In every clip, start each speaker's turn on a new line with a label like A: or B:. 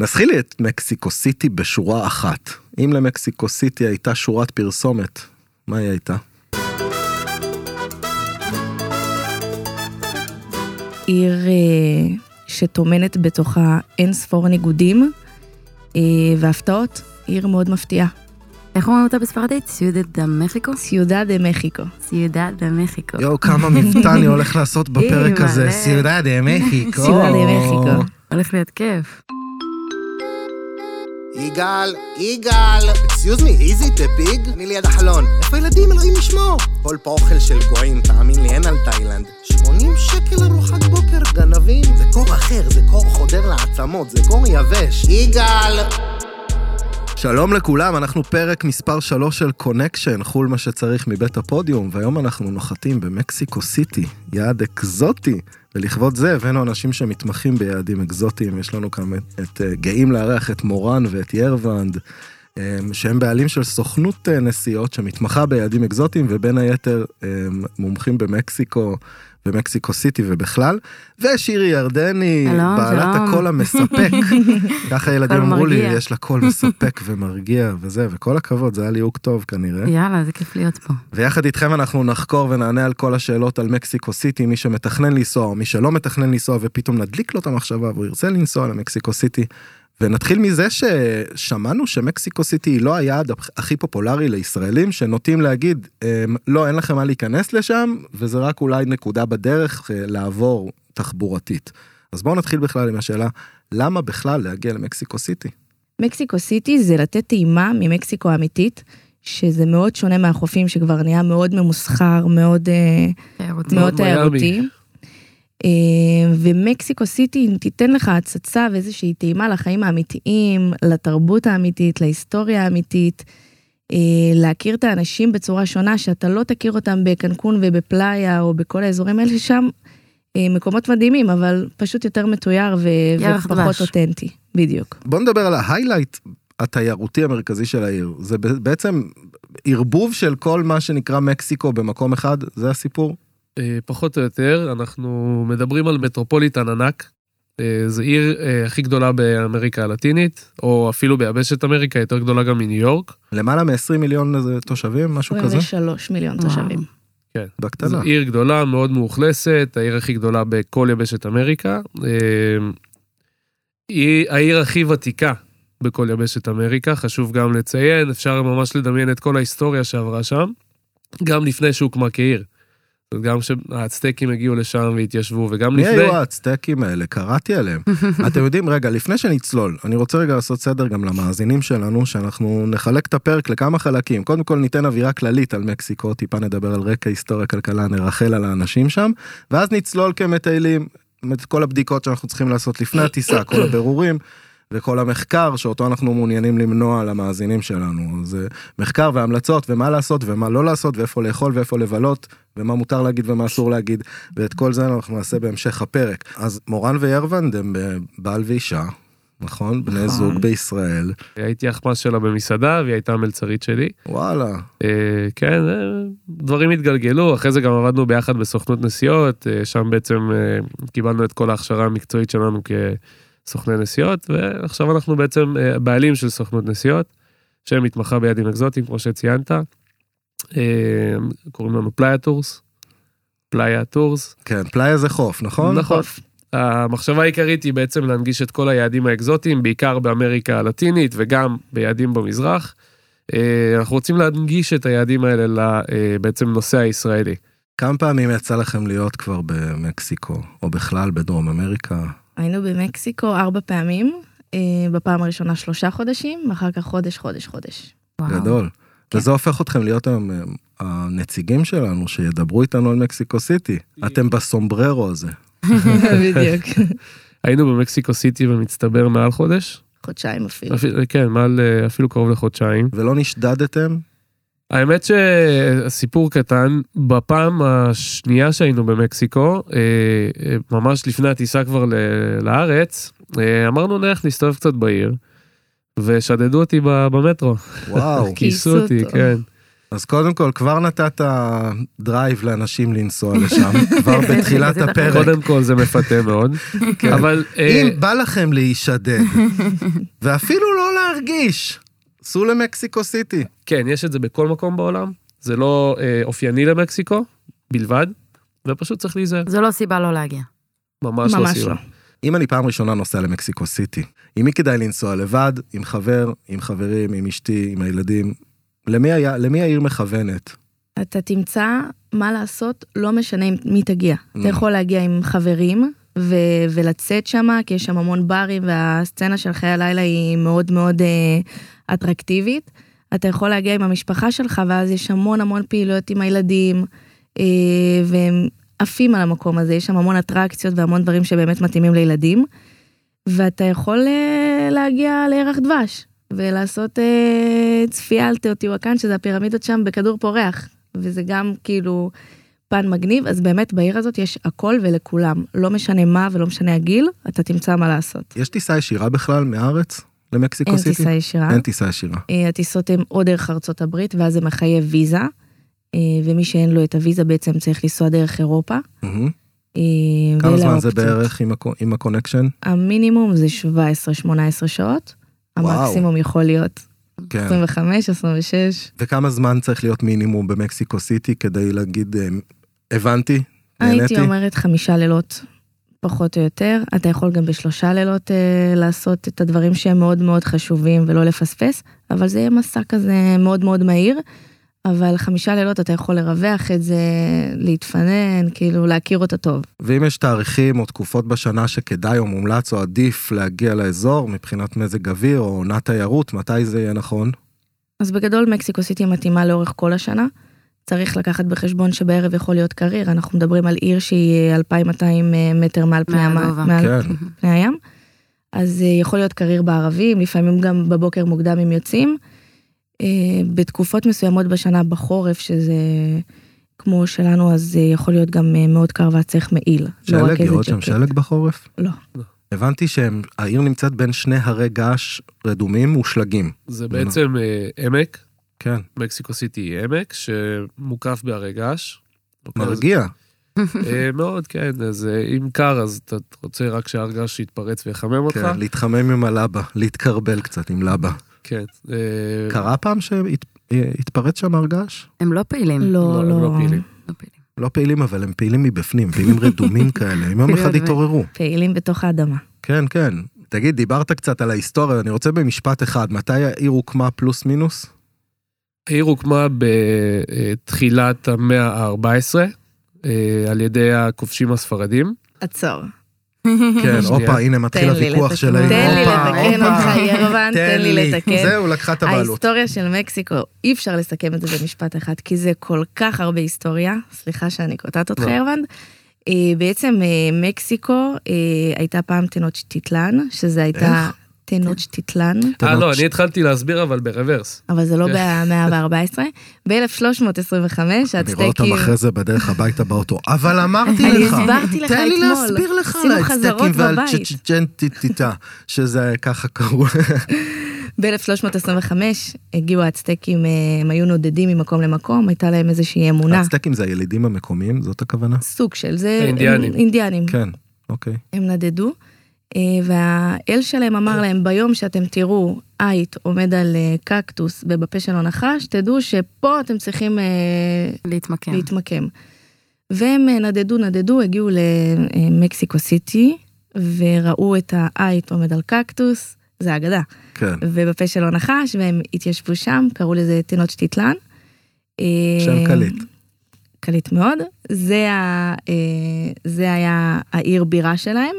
A: נסחי לי את מקסיקו סיטי בשורה אחת. אם למקסיקו סיטי הייתה שורת פרסומת, מה היא הייתה?
B: עיר אה, שטומנת בתוכה אין ספור ניגודים אה, והפתעות, עיר מאוד מפתיעה.
C: איך אומרים אותה בספרדית? סיודד דה מחיקו?
B: סיודה דה מחיקו.
C: סיודד דה מחיקו.
A: יואו, כמה מבטא אני הולך לעשות בפרק
C: אי,
A: הזה.
C: מלא.
A: סיודד דה מחיקו.
B: סיודה דה מחיקו.
C: הולך להיות כיף.
B: אה?
D: יגאל, יגאל! אקסיוז מי, איזי דה ביג? אני ליד החלון. איפה הילדים, אלוהים ישמור? כל פה אוכל של גויים, תאמין לי, אין על תאילנד. 80 שקל ארוחת בוקר, גנבים. זה קור אחר, זה קור חודר לעצמות, זה קור יבש. יגאל!
A: שלום לכולם, אנחנו פרק מספר 3 של קונקשן, חול מה שצריך מבית הפודיום, והיום אנחנו נוחתים במקסיקו סיטי, יעד אקזוטי, ולכבוד זה הבאנו אנשים שמתמחים ביעדים אקזוטיים, יש לנו כאן את, את אה, גאים לארח את מורן ואת ירוונד, אה, שהם בעלים של סוכנות אה, נסיעות שמתמחה ביעדים אקזוטיים, ובין היתר אה, מומחים במקסיקו. במקסיקו סיטי ובכלל, ושירי ירדני,
C: שלום,
A: בעלת
C: שלום.
A: הקול המספק, ככה ילדים
C: קול
A: אמרו לי,
C: מרגיע.
A: יש לה קול מספק ומרגיע וזה, וכל הכבוד, זה היה ליהוק טוב כנראה.
C: יאללה, זה כיף להיות פה.
A: ויחד איתכם אנחנו נחקור ונענה על כל השאלות על מקסיקו סיטי, מי שמתכנן לנסוע או מי שלא מתכנן לנסוע, ופתאום נדליק לו את המחשבה והוא ירצה לנסוע למקסיקו סיטי. ונתחיל מזה ששמענו שמקסיקו סיטי היא לא היעד הכי פופולרי לישראלים, שנוטים להגיד, "אמ, לא, אין לכם מה להיכנס לשם, וזה רק אולי נקודה בדרך אה, לעבור תחבורתית. אז בואו נתחיל בכלל עם השאלה, למה בכלל להגיע למקסיקו סיטי?
B: מקסיקו סיטי זה לתת טעימה ממקסיקו האמיתית, שזה מאוד שונה מהחופים שכבר נהיה מאוד ממוסחר, מאוד... אה,
C: תיירותי.
B: מאוד
E: מיאמי.
B: תיירותי. אה, ומקסיקו סיטי תיתן לך הצצה ואיזושהי טעימה לחיים האמיתיים, לתרבות האמיתית, להיסטוריה האמיתית, אה, להכיר את האנשים בצורה שונה שאתה לא תכיר אותם בקנקון ובפלאיה או בכל האזורים האלה ששם אה, מקומות מדהימים, אבל פשוט יותר מתויר ו-
C: ירח
B: ופחות
C: דבש.
B: אותנטי, בדיוק.
A: בוא נדבר על ההיילייט התיירותי המרכזי של העיר. זה ב- בעצם ערבוב של כל מה שנקרא מקסיקו במקום אחד, זה הסיפור?
E: אה, פחות או יותר, אנחנו מדברים על מטרופוליטן ענק. אה, זו עיר אה, הכי גדולה באמריקה הלטינית, או אפילו ביבשת אמריקה, יותר גדולה גם מניו יורק.
A: למעלה מ-20 מיליון איזה תושבים, משהו כזה?
B: 23 אוקיי, מיליון
C: וואו.
B: תושבים.
E: זו
A: בקטנה.
E: עיר גדולה, מאוד מאוכלסת, העיר הכי גדולה בכל יבשת אמריקה. אה, היא העיר הכי ותיקה בכל יבשת אמריקה, חשוב גם לציין, אפשר ממש לדמיין את כל ההיסטוריה שעברה שם, גם לפני שהוקמה כעיר. זאת אומרת, גם כשהאצטקים הגיעו לשם והתיישבו, וגם
A: מי
E: לפני...
A: היו האצטקים האלה? קראתי עליהם. אתם יודעים, רגע, לפני שנצלול, אני רוצה רגע לעשות סדר גם למאזינים שלנו, שאנחנו נחלק את הפרק לכמה חלקים. קודם כל ניתן אווירה כללית על מקסיקו, טיפה נדבר על רקע היסטוריה, כלכלה, נרחל על האנשים שם, ואז נצלול כמטיילים את כל הבדיקות שאנחנו צריכים לעשות לפני הטיסה, כל הבירורים. וכל המחקר שאותו אנחנו מעוניינים למנוע על המאזינים שלנו. זה מחקר והמלצות ומה לעשות ומה לא לעשות ואיפה לאכול ואיפה לבלות ומה מותר להגיד ומה אסור להגיד ואת כל זה אנחנו נעשה בהמשך הפרק. אז מורן וירוונד הם אה, בעל ואישה, נכון? בני זוג בישראל.
E: הייתי אחמ"ש שלה במסעדה, והיא הייתה המלצרית שלי.
A: וואלה.
E: אה, כן, אה, דברים התגלגלו, אחרי זה גם עבדנו ביחד בסוכנות נסיעות, אה, שם בעצם אה, קיבלנו את כל ההכשרה המקצועית שלנו כסוכני נסיעות, ועכשיו אנחנו בעצם אה, בעלים של סוכנות נסיעות, שמתמחה ביעדים אקזוטיים, כמו שציינת. אה, קוראים לנו פלאיה טורס. פלאיה טורס.
A: כן, פלאיה זה חוף, נכון?
E: המחשבה העיקרית היא בעצם להנגיש את כל היעדים האקזוטיים, בעיקר באמריקה הלטינית וגם ביעדים במזרח. אה, אנחנו רוצים להנגיש את היעדים האלה ל- אה, בעצם נוסע הישראלי.
A: כמה פעמים יצא לכם להיות כבר במקסיקו, או בכלל בדרום אמריקה?
B: היינו במקסיקו ארבע פעמים, אה, בפעם הראשונה שלושה חודשים, אחר כך חודש, חודש, חודש.
C: וואו.
A: גדול.
B: כן.
A: וזה הופך אתכם להיות היום אה, הנציגים שלנו שידברו איתנו על מקסיקו סיטי. אתם בסומבררו הזה.
B: בדיוק.
E: היינו במקסיקו סיטי במצטבר מעל חודש,
B: חודשיים אפילו.
E: אפילו- כן, מעל אה, אפילו קרוב לחודשיים.
A: ולא נשדדתם?
E: האמת שסיפור קטן, בפעם השנייה שהיינו במקסיקו, אה, אה, ממש לפני הטיסה כבר ל- לארץ, אה, אמרנו נלך להסתובב קצת בעיר, ושדדו אותי ב- במטרו.
A: וואו.
B: כיסו
E: כיסו אותי,
B: אותו.
E: כן.
A: אז קודם כל, כבר נתת דרייב לאנשים לנסוע לשם, כבר בתחילת
C: זה נכון.
A: הפרק.
E: קודם כל זה מפתה מאוד,
A: אה, כן.
E: אבל אה,
A: אם בא לכם להישדד, ואפילו לא להרגיש, סעו למקסיקו סיטי.
E: כן, יש את זה בכל מקום בעולם, זה לא אה, אופייני למקסיקו בלבד, ופשוט צריך להיזהר,
C: זו לא סיבה לא להגיע.
E: ממש לא
B: ממש
E: סיבה.
B: לא.
A: אם אני פעם ראשונה נוסע למקסיקו סיטי, עם מי כדאי לנסוע לבד, עם חבר, עם חברים, עם אשתי, עם הילדים? למי, היה, למי העיר מכוונת?
B: אתה תמצא מה לעשות, לא משנה עם מי תגיע.
A: Mm.
E: נכון.
B: אתה יכול להגיע עם חברים ו- ולצאת שם, כי יש שם המון ברים, והסצנה של חיי הלילה היא מאוד מאוד אה, אטרקטיבית. אתה יכול להגיע עם המשפחה שלך, ואז יש המון המון פעילויות עם הילדים, אה, והם עפים על המקום הזה, יש שם המון אטרקציות והמון דברים שבאמת מתאימים לילדים. ואתה יכול אה, להגיע לירח דבש, ולעשות אה, צפייה על תאוטיוואקן, שזה הפירמידות שם בכדור פורח. וזה גם כאילו פן מגניב, אז באמת בעיר הזאת יש הכל ולכולם. לא משנה מה ולא משנה הגיל, אתה תמצא מה לעשות.
A: יש טיסה ישירה בכלל מהארץ למקסיקו
B: אין
A: סיטי?
B: טיסה ישירה.
A: אין טיסה ישירה.
B: אה, הטיסות הן או דרך ארצות הברית, ואז זה מחייב ויזה, אה, ומי שאין לו את הוויזה בעצם צריך לנסוע דרך אירופה.
A: מהמם.
B: אה,
A: כמה
B: ואלה
A: זמן זה
B: האופציות.
A: בערך עם הקו- עם הקונקשן?
B: המינימום זה 17-18 שעות,
A: וואו.
B: המקסימום יכול להיות
A: כן.
B: 25, 26.
A: וכמה זמן צריך להיות מינימום במקסיקו סיטי כדי להגיד, אה, הבנתי, נהניתי?
B: הייתי אומרת חמישה לילות, פחות או יותר. אתה יכול גם בשלושה לילות אה, לעשות את הדברים שהם מאוד מאוד חשובים ולא לפספס, אבל זה יהיה מסע כזה מאוד מאוד מהיר. אבל חמישה לילות אתה יכול לרווח את זה, להתפנן, כאילו להכיר אותה טוב.
A: ואם יש תאריכים או תקופות בשנה שכדאי או מומלץ או עדיף להגיע לאזור מבחינת מזג אוויר או עונת תיירות, מתי זה יהיה נכון?
B: אז בגדול מקסיקו סיטי מתאימה לאורך כל השנה. צריך לקחת בחשבון שבערב יכול להיות קריר, אנחנו מדברים על עיר שהיא 2,200 מטר מעל פני, המ...
C: מהגובה.
B: מעל
A: כן.
E: נכון.
B: פני הים. אז אה, יכול להיות קריר בערבים, לפעמים גם בבוקר מוקדם הם יוצאים. אה, בתקופות מסוימות בשנה בחורף, שזה כמו שלנו, אז אה, יכול להיות גם אה, מאוד קר ואז צריך מעיל. לא רק
A: שלג,
B: איזה
A: יורד שם
B: ג'קט.
A: שלג בחורף?
B: לא.
A: הבנתי שהעיר נמצאת בין שני הרי געש רדומים ושלגים.
E: זה
A: במה?
E: בעצם אה, עמק,
A: כן.
E: מקסיקו סיטי היא עמק, שמוקף בהרי געש. אוקיי,
A: מרגיע.
E: אה, מאוד, כן, אז אה, אם קר, אז אתה רוצה רק שההר געש יתפרץ ויחמם אותך.
A: כן, להתחמם עם הלבה, להתקרבל קצת עם לבה.
E: כן. אה,
A: קרה פעם שהתפרץ שם הר געש?
C: הם לא פעילים.
B: לא,
E: הם
B: לא.
E: לא פעילים.
C: לא פעילים.
A: לא פעילים, אבל הם פעילים מבפנים, פעילים רדומים כאלה, הם יום
B: כן,
C: פעילים
A: אחד
C: רדומים.
A: התעוררו.
B: פעילים בתוך האדמה.
A: כן, כן. תגיד, דיברת קצת על ההיסטוריה, אני רוצה במשפט אחד, מתי העיר הוקמה פלוס מינוס?
E: העיר הוקמה בתחילת המאה ה-14 אה, על ידי הכובשים הספרדים.
B: עצור.
A: כן,
E: שנייה.
A: הופה, הנה מתחיל
B: תן לי
A: הוויכוח
B: לתקן.
A: של העיר.
B: תן לי
A: הופה,
B: לתקן
A: הופה.
B: אותך, ירבן, תן לי לתקן.
A: זהו, לקחה את הבעלות.
B: ההיסטוריה של מקסיקו, אי אפשר לסכם את זה במשפט אחד, כי זה כל כך הרבה היסטוריה. סליחה שאני קוטעת אותך,
E: לא.
B: ירוונד. אה, בעצם אה, מקסיקו אה, הייתה פעם תנוצ'טיטלן, שזה הייתה תנוצ'טיטלן,
E: אה, לא,
A: תנות-
E: אני התחלתי להסביר אבל ברוורס.
B: אבל זה לא
E: כן.
B: במאה ה-14. ב-1325
A: אני רואה אותם
B: האצטקים...
A: אחרי זה בדרך הביתה באוטו. אבל אמרתי
B: אני
A: לך,
B: הסברתי לך
A: תן לי
B: אתמול.
A: להסביר לך על
B: עשינו
A: האצטקים
B: חזרות
A: ועל
B: בבית.
A: צ'צ'צ'נטיטיטה, שזה ככה קראו.
B: ב-1325 הגיעו האצטקים, אה, הם היו נודדים ממקום למקום, הייתה להם איזושהי אמונה.
A: האצטקים זה הילידים המקומיים, זאת הכוונה?
B: סוג של זה,
E: האינדיאנים.
B: אינדיאנים,
A: כן, אוקיי.
B: הם נדדו, אה, והאל שלהם אמר להם, ביום שאתם תראו עית עומד על אה, קקטוס ובפה שלו נחש, תדעו שפה אתם צריכים אה,
A: כן.
C: להתמקם.
B: להתמקם. והם אה, נדדו, נדדו, הגיעו למקסיקו סיטי, וראו את העית עומד על קקטוס, זה אגדה,
A: כן.
B: ובפה שלו נחש, והם התיישבו שם, קראו לזה תינות שטיטלן. אה,
A: שם קליט.
B: קליט מאוד. זה, ה, אה, זה היה העיר בירה שלהם,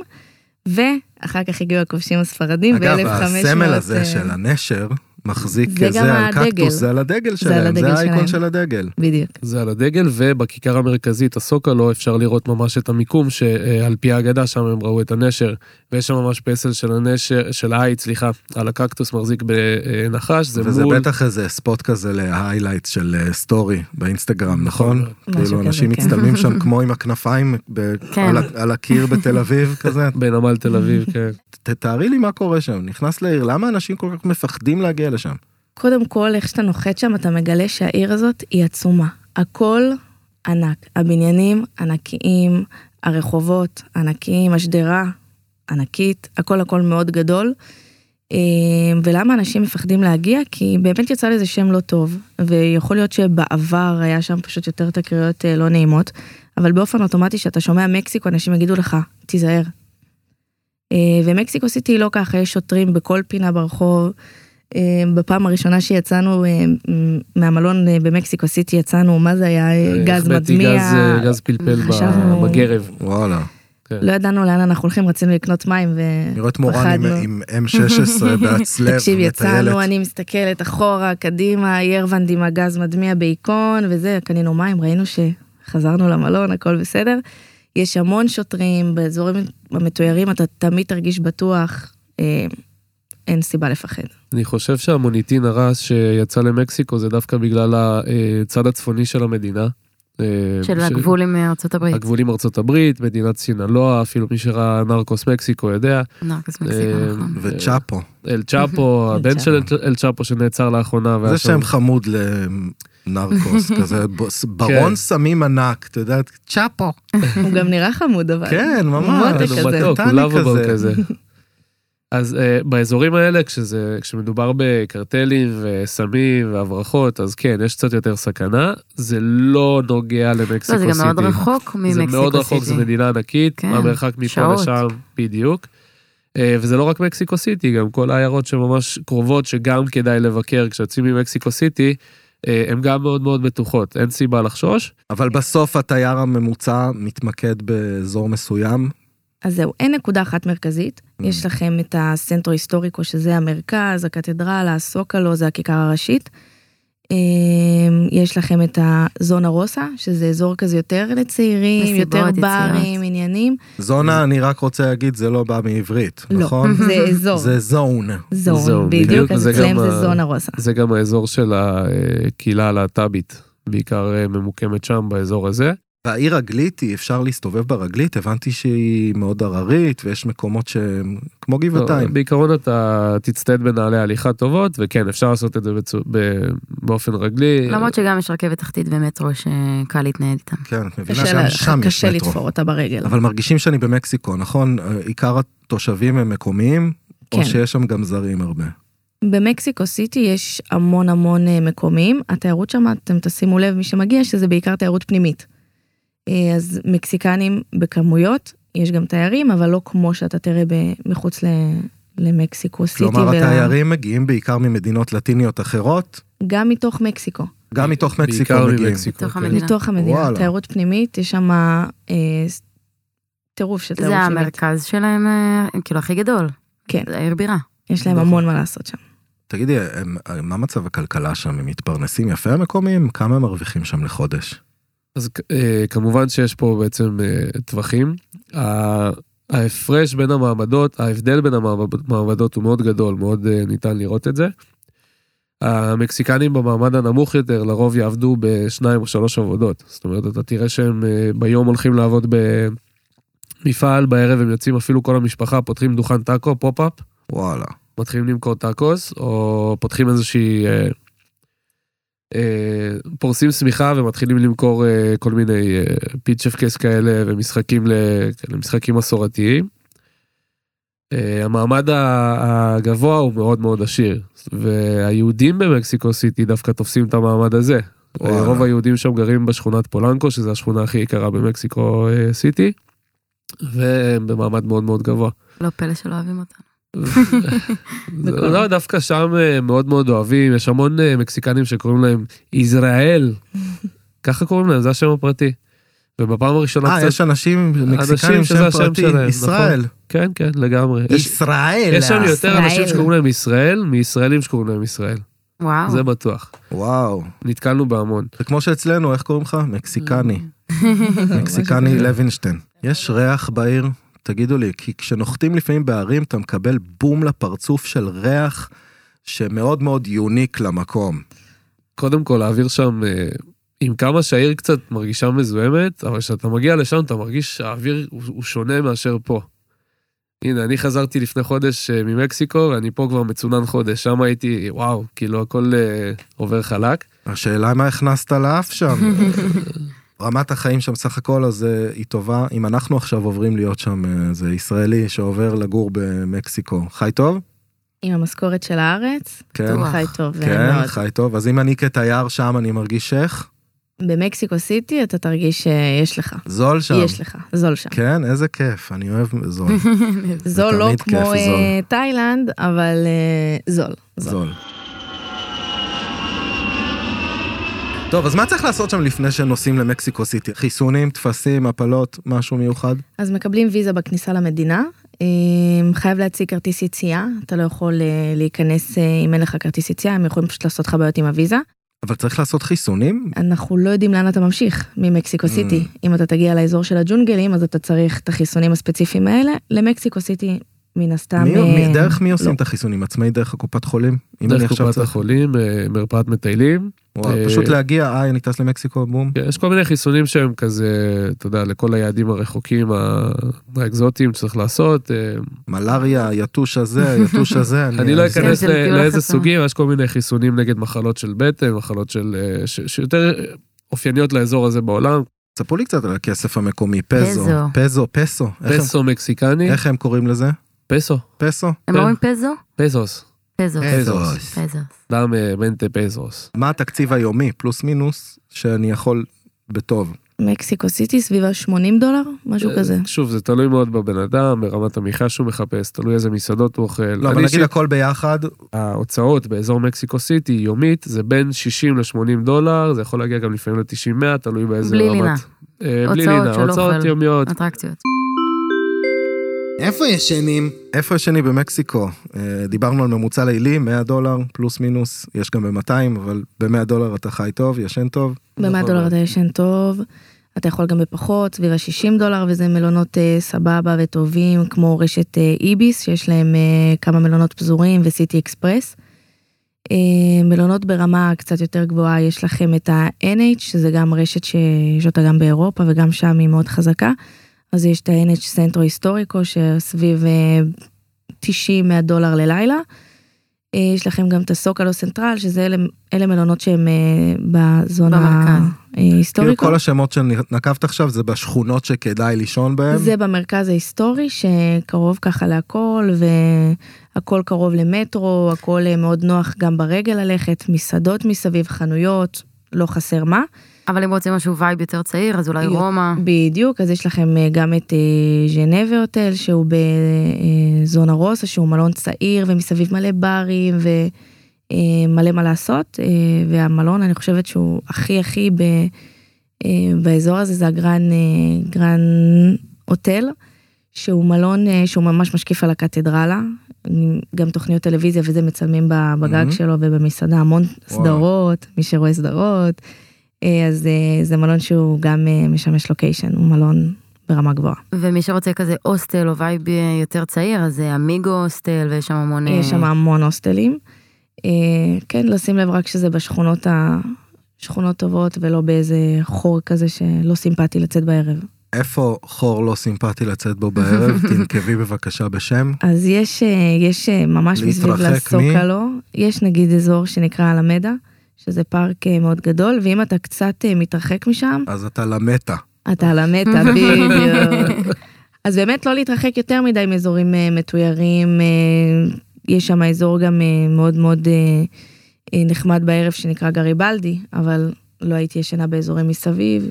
B: ואחר כך הגיעו הכובשים הספרדים ב-1500...
A: אגב, הסמל הזה של הנשר מחזיק
B: אה, זה גם
A: זה על
B: הדגל.
A: קקטוס, זה על הדגל
B: זה על
A: שלהם, זה
B: הדגל
A: האייקון
B: שלהם.
A: של הדגל.
B: בדיוק.
E: זה על הדגל, ובכיכר המרכזית, הסוקלו, לא אפשר לראות ממש את המיקום שעל פי האגדה שם הם ראו את הנשר, ויש שם ממש פסל של הנשר, של העית, סליחה, על הקקטוס מחזיק בנחש, זה
A: וזה
E: מול...
A: בטח איזה ספוט כזה להיילייט של אה, סטורי באינסטגרם, נכון?
B: משהו
A: כאילו אנשים
B: כזה, כן.
A: מצטלמים שם כמו עם הכנפיים ב-
C: כן.
A: על ה- על הקיר בתל אביב כזה.
E: בנמל תל אביב, כן.
A: ת- תארי לי מה קורה שם, נכנס לעיר, למה אנשים כל כך מפחדים להגיע לשם?
B: קודם כל, איך שאתה נוחת שם, אתה מגלה שהעיר הזאת היא עצומה. הכל ענק. הבניינים ענקיים, הרחובות ענקיים, השדרה ענקית, הכל הכל מאוד גדול. אה, ולמה אנשים מפחדים להגיע? כי באמת יצא לזה שם לא טוב, ויכול להיות שבעבר היה שם פשוט יותר תקריות אה, לא נעימות, אבל באופן אוטומטי כשאתה שומע מקסיקו, אנשים יגידו לך, תיזהר. אה, ומקסיקו סיטי היא לא ככה, יש שוטרים בכל פינה ברחוב. אה, בפעם הראשונה שיצאנו אה, מ- מהמלון אה, במקסיקו סיטי, יצאנו, מה זה היה? אה, גז
E: החבאתי
B: מדמיע.
E: גז, אה, גז פלפל
B: חשבנו-
E: בגרב.
A: וואלה.
B: לא ידענו לאן אנחנו הולכים, רצינו לקנות מים ו...
A: נראית מורן עם-
B: פחדנו.
A: עם M16 בעצלב,
B: תקשיב,
A: מטיילת.
B: יצאנו, אני מסתכלת אחורה, קדימה, ירוונד עם הגז מדמיע בהיכון וזה, קנינו מים, ראינו שחזרנו למלון, הכל בסדר. יש המון שוטרים, באזורים המתוירים אתה תמיד תרגיש בטוח, אה, אין סיבה לפחד.
E: אני חושב שהמוניטין הרע שיצא למקסיקו זה דווקא בגלל הצד הצפוני של המדינה. אה,
C: של
E: ש-
C: הגבול עם אה, ארצות הברית.
E: הגבול עם ארצות הברית, מדינת סינלואה, אפילו מי שראה נרקוס מקסיקו יודע.
C: נרקוס מקסיקו,
E: אה,
C: נכון.
A: וצ'אפו.
E: אל צ'אפו,
C: אל
E: הבן של
A: צ'אפו.
E: אל- אל צ'אפו שנעצר לאחרונה. והיה
A: זה
E: שם-
A: שם חמוד לנרקוס, כזה ב- ברון
E: כן.
A: סמים ענק, אתה יודע, צ'אפו.
B: הוא גם נראה חמוד, אבל.
A: כן, ממש.
B: מותק
E: הוא
B: כזה.
E: מתוק, הוא
A: טני
E: לאביבל
A: כזה.
E: כזה. אז uh, באזורים האלה, כשזה, כשמדובר בקרטלים וסמים והברחות, אז כן, יש קצת יותר סכנה. זה לא נוגע למקסיקו
C: לא, זה
E: סיטי.
C: גם מאוד רחוק ממקסיקו סיטי.
E: זה מאוד רחוק, זו מדינה ענקית,
C: כן,
E: המרחק מפה
C: שעות.
E: לשם, בדיוק. אה, וזה לא רק מקסיקו סיטי, גם כל העיירות שממש קרובות, שגם כדאי לבקר כשיוצאים ממקסיקו סיטי, אה, הן גם מאוד מאוד בטוחות, אין סיבה לחשוש.
A: אבל בסוף התייר הממוצע מתמקד באזור מסוים.
B: אז זהו, אין נקודה אחת מרכזית.
A: Mm.
B: יש לכם את הסנטרו היסטוריקו, שזה המרכז, הקתדרלה, הסוקלו, זה הכיכר הראשית. אמ, יש לכם את הזונה רוסה, שזה אזור כזה יותר לצעירים,
C: מסיבות,
B: יותר
C: יצירות.
B: ברים, עניינים.
A: זונה, אני רק רוצה להגיד, זה לא בא מעברית,
B: לא,
A: נכון?
B: זה אזור,
A: זה זון.
E: זון,
B: זון,
E: בדיוק,
B: בדיוק, אז
E: זה
B: אצלם
E: גם
B: זה
E: ה-
B: זונה רוסה.
E: זה גם האזור של הקהילה הלהט"בית, בעיקר אה, ממוקמת שם, באזור הזה.
A: והעיר רגלית, היא אפשר להסתובב ברגלית, הבנתי שהיא מאוד הררית, ויש מקומות שהם כמו גבעתיים.
E: לא, בעיקרון אתה תצטייד בנעלי הליכה טובות, וכן, אפשר לעשות את זה בצו... ב... באופן רגלי.
C: למרות שגם יש רכבת תחתית ומטרו שקל להתנייד איתם.
A: כן, את מבינה
B: קשה
A: שגם
B: לה-
A: שם יש
B: קשה
A: מטרו.
B: לתפור אותה ברגל.
A: אבל מרגישים שאני במקסיקו, נכון? אה, עיקר התושבים הם מקומיים, או
B: כן.
A: שיש שם גם זרים הרבה.
B: במקסיקו סיטי יש המון המון אה, מקומיים, התיירות שם, אתם תשימו לב, מי שמגיע, שזה בעיקר תיירות פנימית. אה, אז מקסיקנים בכמויות, יש גם תיירים, אבל לא כמו שאתה תראה ב- מחוץ ל... למקסיקו סיטי,
A: כלומר,
B: ול-
A: התיירים מגיעים בעיקר ממדינות לטיניות אחרות,
B: גם מתוך מקסיקו,
A: גם מתוך מקסיקו
E: בעיקר
A: מגיעים.
E: ממקסיקו.
C: בתוך
E: כן.
C: המדינה.
B: מתוך המדינה,
A: וואלה.
B: תיירות פנימית, יש שם אה, ס- טירוף של תיירות
C: זה
B: פנימית.
C: המרכז שלהם, אה, כאילו הכי גדול.
B: כן.
C: זה העיר בירה.
B: יש להם
A: נכון.
B: המון מה לעשות שם.
A: תגידי, הם- אה, מה מצב הכלכלה שם? הם מתפרנסים יפה המקומיים? כמה הם מרוויחים שם לחודש?
E: אז אה, כמובן שיש פה בעצם אה, טווחים. ה- ההפרש בין המעמדות, ההבדל בין המעמדות הוא מאוד גדול, מאוד אה, ניתן לראות את זה. המקסיקנים במעמד הנמוך יותר לרוב יעבדו בשניים או שלוש עבודות. זאת אומרת, אתה תראה שהם אה, ביום הולכים לעבוד במפעל, בערב הם יוצאים אפילו כל המשפחה, פותחים דוכן טאקו, פופ-אפ,
A: וואלה.
E: מתחילים למכור טאקוס, או פותחים איזושהי... אה, אה, פורסים שמיכה ומתחילים למכור אה, כל מיני אה, פיצ'פקס כאלה ומשחקים ל- כאלה, משחקים מסורתיים. אה, המעמד ה- הגבוה הוא מאוד מאוד עשיר, והיהודים במקסיקו סיטי דווקא תופסים את המעמד הזה. אה,
A: וואלה.
E: רוב היהודים שם גרים בשכונת פולנקו, שזו השכונה הכי יקרה במקסיקו אה, סיטי, והם במעמד מאוד מאוד גבוה.
C: לא פלא שלא אוהבים אותם.
E: זה-
B: בכל-
E: לא, דווקא שם אה, מאוד מאוד אוהבים, יש המון אה, מקסיקנים שקוראים להם ישראל, ככה קוראים להם, זה השם הפרטי. ובפעם הראשונה
A: אה,
E: קצת,
A: יש אנשים מקסיקנים
E: אנשים שזה
A: שם
E: השם
A: פרטי,
E: שלהם,
A: ישראל.
E: כן, כן, לגמרי. יש-
A: ישראל.
E: יש שם יותר אנשים
B: ישראל.
E: שקוראים להם ישראל, מישראלים שקוראים להם ישראל,
C: וואו.
E: זה בטוח.
A: וואו.
E: נתקלנו בהמון.
A: זה כמו שאצלנו, איך קוראים לך? מקסיקני. מקסיקני לוינשטיין. יש ריח בעיר? תגידו לי, כי כשנוחתים לפעמים בערים אתה מקבל בום לפרצוף של ריח שמאוד מאוד יוניק למקום.
E: קודם כל, האוויר שם, אה, עם כמה שהעיר קצת מרגישה מזוהמת, אבל כשאתה מגיע לשם אתה מרגיש שהאוויר הוא הוא שונה מאשר פה. הנה, אני חזרתי לפני חודש אה, ממקסיקו, ואני פה כבר מצונן חודש, שם הייתי, וואו, כאילו הכל אה, עובר חלק.
A: השאלה מה הכנסת לאף שם. רמת החיים שם סך הכל אז אה, היא טובה. אם אנחנו עכשיו עוברים להיות שם איזה ישראלי שעובר לגור במקסיקו, חי טוב?
B: עם המשכורת של הארץ,
A: כן.
C: וואו.
B: חי טוב
A: כן,
B: מאוד.
A: חי טוב. אז אם אני כתייר שם אני מרגיש שייח,
B: במקסיקו סיטי אתה תרגיש שיש לך.
A: זול שם.
B: יש לך, זול שם.
A: כן, איזה כיף, אני אוהב זול.
B: זול לא
A: תמיד כיף,
B: כמו אה,
A: זול.
B: תאילנד, אבל אה, זול. זול.
A: זול. טוב, אז מה צריך לעשות שם לפני שנוסעים למקסיקו סיטי? חיסונים, טפסים, הפלות, משהו מיוחד?
B: אז מקבלים ויזה בכניסה למדינה, אה, חייב להציג כרטיס יציאה, אתה לא יכול אה, להיכנס אה, אם אין לך כרטיס יציאה, הם יכולים פשוט לעשות לך בעיות עם הוויזה.
A: אבל צריך לעשות חיסונים?
B: אנחנו לא יודעים לאן אתה ממשיך ממקסיקו
A: Mm.
B: סיטי. אם אתה תגיע לאזור של הג'ונגלים, אז אתה צריך את החיסונים הספציפיים האלה. למקסיקו סיטי, מן הסתם...
A: מי,
B: אה,
A: מי, דרך מי עושים
B: לא.
A: את החיסונים? עצמאי דרך הקופת חולים? אם אני
E: דרך
A: עכשיו
E: קופת
A: צריך-
E: החולים, אה, מרפאת מטיילים.
A: וואי,
E: אה,
A: פשוט להגיע, אה, אני טס למקסיקו, בום.
E: כן, יש כל מיני חיסונים שהם כזה, אתה יודע, לכל היעדים הרחוקים, ה- האקזוטיים שצריך לעשות. אה,
A: מלאריה, היתוש הזה, היתוש הזה.
E: אני לא אכנס
C: זה
E: ל-
C: לטיול
E: לאיזה
C: החסון.
E: סוגים, יש כל מיני חיסונים נגד מחלות של בטן, מחלות של... אה, ש- שיותר אה, אופייניות לאזור הזה בעולם.
A: ספרו לי קצת על הכסף המקומי, פזו.
C: פזו.
A: פזו, פסו. איך הם-
E: פסו מקסיקני,
A: איך הם קוראים לזה?
E: פסו,
A: פסו?
C: הם
E: כן.
C: לא אומרים פזו?
E: פזוס,
C: פזוס.
A: פזוס.
C: פזוס.
E: דם אה, מנטה פזוס.
A: מה התקציב היומי, פלוס מינוס, שאני יכול בטוב?
B: מקסיקו סיטי סביב ה-80 דולר, משהו
A: אה,
B: כזה.
E: אה, שוב, זה תלוי מאוד בבן אדם, ברמת המחיה שהוא מחפש, תלוי איזה מסעדות הוא אוכל.
A: לא,
E: אני
A: אבל נגיד
E: אישית-
A: הכל ביחד,
E: ההוצאות באזור מקסיקו סיטי יומית זה בין 60 ל-80 דולר, זה יכול להגיע גם לפעמים ל-90-100, תלוי באיזה
C: בלי
E: רמת.
C: לינה.
E: אה, בלי
C: הוצאות
E: לינה.
C: של
E: הוצאות
C: אוכל.
E: יומיות.
C: אטרקציות.
D: איפה ישנים?
A: איפה השני במקסיקו? אה, דיברנו על ממוצע לילי, 100 דולר, פלוס מינוס, יש גם ב-200, אבל ב-100 דולר אתה חי טוב, ישן טוב.
B: ב-100
E: נכון.
B: דולר אתה ישן טוב, אתה יכול גם בפחות, סביב ה-60 דולר, וזה מלונות אה, סבבה וטובים, כמו רשת אה, איביס, שיש להם אה, כמה מלונות פזורים, וסיטי אקספרס. אה, מלונות ברמה קצת יותר גבוהה, יש לכם את ה-NH, שזה גם רשת שיש אותה גם באירופה, וגם שם היא מאוד חזקה. אז יש את ה-NH סנטרו היסטוריקו, שסביב אה, 90-100 דולר ללילה. אה, יש לכם גם את הסוקלו סנטרל, שזה אלה, אלה מלונות שהם אה, בזונה
C: במרכז.
B: אה,
A: כאילו
B: היסטוריקו.
A: כל השמות שנקבת עכשיו זה בשכונות שכדאי לישון בהן.
B: זה במרכז ההיסטורי שקרוב ככה להכל והכל קרוב למטרו, הכל אה, מאוד נוח גם ברגל ללכת, מסעדות מסביב, חנויות, לא חסר מה.
C: אבל אם רוצים משהו וייב יותר צעיר, אז אולי
B: יו-
C: רומא.
B: בדיוק, אז יש לכם אה, גם את אה, ז'נבה הוטל, שהוא בזונה רוסה, שהוא מלון צעיר ומסביב מלא ברים ומלא מה לעשות, אה, והמלון אני חושבת שהוא הכי הכי ב, אה, באזור הזה, זה הגרן אה, גרן הוטל, שהוא מלון אה, שהוא ממש משקיף על הקתדרלה, עם גם תוכניות טלוויזיה וזה מצלמים ב- בגג
A: מהמם.
B: שלו ובמסעדה המון
A: וואו.
B: סדרות, מי שרואה סדרות. אה, אז אה, זה מלון שהוא גם אה, משמש לוקיישן, הוא מלון ברמה גבוהה.
C: ומי שרוצה כזה הוסטל או וייב יותר צעיר, אז זה אמיגו הוסטל, ויש שם המון...
B: יש שם
C: אה,
B: המון הוסטלים. אה, כן, לשים לב רק שזה בשכונות ה... שכונות טובות ולא באיזה חור כזה שלא סימפטי לצאת בערב.
A: איפה חור לא סימפטי לצאת בו בערב? תנקבי בבקשה בשם.
B: אז יש, אה, יש אה, ממש מסביב
A: להתרחק מ-
B: לסוקלו, יש נגיד אזור שנקרא אלמדה, שזה פארק אה, מאוד גדול, ואם אתה קצת אה, מתרחק משם,
A: אז אתה למטה.
B: אתה על המטה, בדיוק. אז באמת לא להתרחק יותר מדי מאזורים אה, מתוירים, אה, יש שם אזור גם אה, מאוד מאוד אה, אה, נחמד בערב שנקרא גריבלדי, אבל לא הייתי ישנה באזורים מסביב.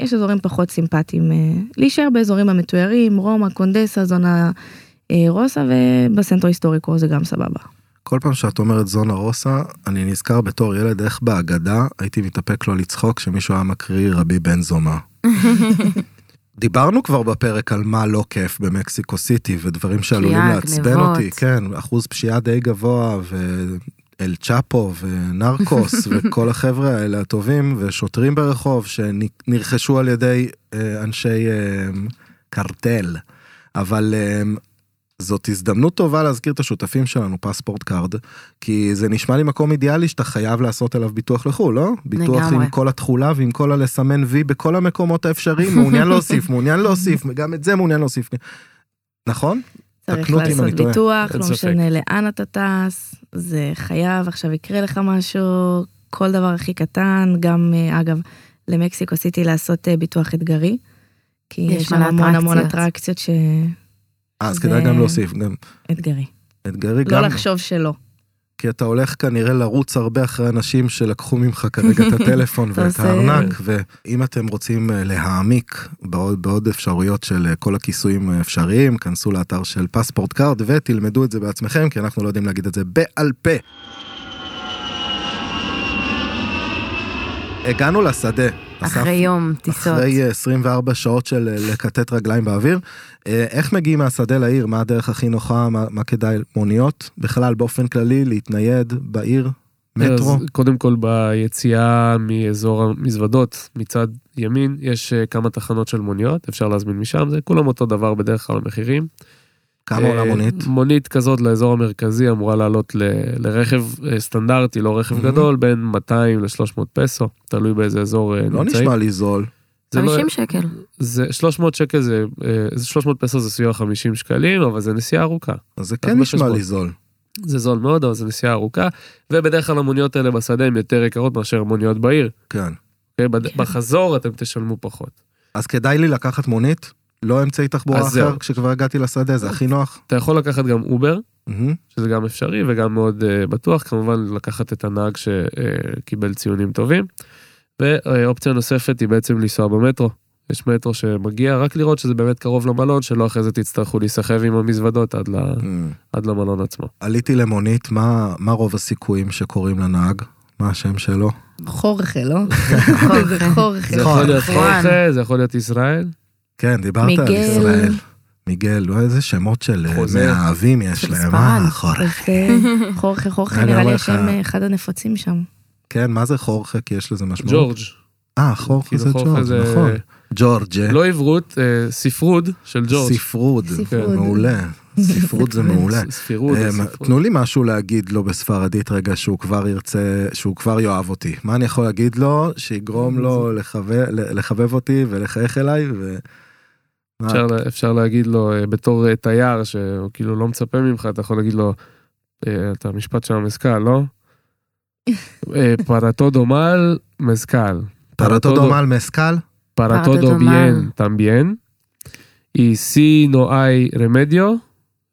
B: יש אזורים פחות סימפטיים, אה, להישאר באזורים המתוירים, רומא, קונדסה, זונה אה, רוסה ובסנטרו היסטוריקו זה גם סבבה.
A: כל פעם שאת אומרת זונה רוסה, אני נזכר בתור ילד איך בהגדה הייתי מתאפק לא לצחוק כשמישהו היה מקריא רבי בן זומא. דיברנו כבר בפרק על מה לא כיף במקסיקו סיטי ודברים שעלולים
C: פשיעה,
A: לעצבן
C: גנבות.
A: אותי, כן, אחוז פשיעה די גבוה ואל צ'אפו ונרקוס וכל החבר'ה האלה הטובים ושוטרים ברחוב שנרכשו על ידי אה, אנשי אה, קרטל, אבל אה, זאת הזדמנות טובה להזכיר את השותפים שלנו, פספורט קארד, כי זה נשמע לי מקום אידיאלי שאתה חייב לעשות עליו ביטוח לחו"ל, לא? ביטוח
C: לגמרי.
A: עם כל התכולה ועם כל הלסמן וי בכל המקומות האפשריים, מעוניין להוסיף, מעוניין להוסיף, גם את זה מעוניין להוסיף. נכון?
B: צריך
A: תקנו אותי אם
B: לעשות
A: אני טועה,
B: ביטוח,
E: אין
B: לא
E: ספק.
B: משנה לאן אתה טס, זה חייב, עכשיו יקרה לך משהו, כל דבר הכי קטן, גם אה, אגב, למקסיקו סיטי לעשות אה, ביטוח אתגרי, כי
C: יש
B: יש שם
C: מלא
B: המון המון
C: אטרקציות.
B: אטרקציות שאתגרי.
A: אז
B: זה-
A: כדאי גם להוסיף, גם אתגרי,
B: לא
A: גם,
B: לחשוב שלא.
A: כי אתה הולך כנראה לרוץ הרבה אחרי אנשים שלקחו ממך כרגע את הטלפון
B: אתה
A: ואת
B: עושה-
A: הארנק, ואם אתם רוצים אה, להעמיק בעוד, בעוד אפשרויות של אה, כל הכיסויים האפשריים, כנסו לאתר של פספורט קארד ותלמדו את זה בעצמכם, כי אנחנו לא יודעים להגיד את זה בעל פה. הגענו לשדה.
C: אחרי יום טיסות.
A: אחרי אה, 24 שעות של אה, לכתת רגליים באוויר. אה, איך מגיעים מהשדה לעיר? מה הדרך הכי נוחה? מה, מה כדאי? מוניות? בכלל, באופן כללי, להתנייד בעיר? מטרו?
E: אז קודם כל ביציאה מאזור המזוודות מצד ימין יש אה, כמה תחנות של מוניות אפשר להזמין משם זה כולם אותו דבר בדרך כלל המחירים.
A: כמה עולה
E: אה,
A: מונית?
E: מונית כזאת לאזור המרכזי אמורה לעלות ל- לרכב אה, סטנדרטי לא רכב
A: מהמם.
E: גדול בין 200 ל-300 פסו תלוי באיזה אזור אה,
A: לא
E: נמצאים.
A: נשמע לי זול.
E: זה לא-
C: 50 שקל.
E: זה 300 שקל זה אה, זה 300 פסו זה סביב 50 שקלים אבל זה נסיעה ארוכה.
A: אז זה
E: אז
A: כן נשמע
E: בחשבון.
A: לי זול.
E: זה זול מאוד אבל זה נסיעה ארוכה ובדרך כלל המוניות האלה בשדה הן יותר יקרות מאשר מוניות בעיר.
A: כן.
E: אוקיי? בד-
B: כן.
E: בחזור אתם תשלמו פחות.
A: אז כדאי לי לקחת מונית? לא אמצעי תחבורה
E: אז
A: אחר
E: זהו.
A: כשכבר הגעתי לשדה, זה הכי נוח?
E: אתה יכול לקחת גם אובר
A: מהמם.
E: שזה גם אפשרי וגם מאוד אה, בטוח כמובן לקחת את הנהג שקיבל ציונים טובים. ואופציה נוספת היא בעצם לנסוע במטרו. יש מטרו שמגיע רק לראות שזה באמת קרוב למלון שלא אחרי זה תצטרכו להיסחב עם המזוודות עד, ל...
A: מהמם.
E: עד למלון עצמו.
A: עליתי למונית, מה מה רוב הסיכויים שקוראים לנהג? מה השם שלו?
B: חורכה, לא? זה חורכה.
C: חורכה.
E: זה יכול להיות
C: נכון.
E: חורכה, זה יכול להיות ישראל.
A: כן, דיברת על
B: מיגל.
A: ישראל. מיגל, לא איזה שמות של אה,
E: חוזר.
A: מאהבים יש
C: של
A: להם, אה,
C: ספרד.
A: מה חורכה?
B: זה- אה, חורכה, חורכה,
A: אני
B: נראה
A: אומר
B: לי
A: לך-
B: השם אה, אחד הנפוצים שם.
A: כן, מה זה חורכה? כי יש לזה משמעות.
E: ג'ורג'.
A: אה, חורכה
E: כאילו
A: זה
E: חורכה
A: ג'ורג',
E: זה-
A: נכון. ג'ורג',
E: לא עברות, אה, ספרוד של ג'ורג'.
A: ספרוד,
B: ספרוד.
A: מעולה. ספרוד זה מעולה.
E: ס- ספירות.
A: אמ,
E: או ספרות.
A: תנו לי משהו להגיד לו בספרדית רגע שהוא כבר ירצה, שהוא כבר יאהב אותי. מה אני יכול להגיד לו שיגרום לו לחבב- לחבב אותי ולחייך אליי? ו- מה?
E: אפשר, לה- אפשר להגיד לו אה, בתור אה, תייר שהוא כאילו לא מצפה ממך אתה יכול להגיד לו אה, את המשפט של המזכ"ל לא? אה, פרטודו מל מזכ"ל.
A: פרה
E: פרטודו-
A: תודו מל מסקל?
E: פרטודו
C: Para todo
E: ביין
C: mal.
E: טמביין. אי סי נואי רמדיו.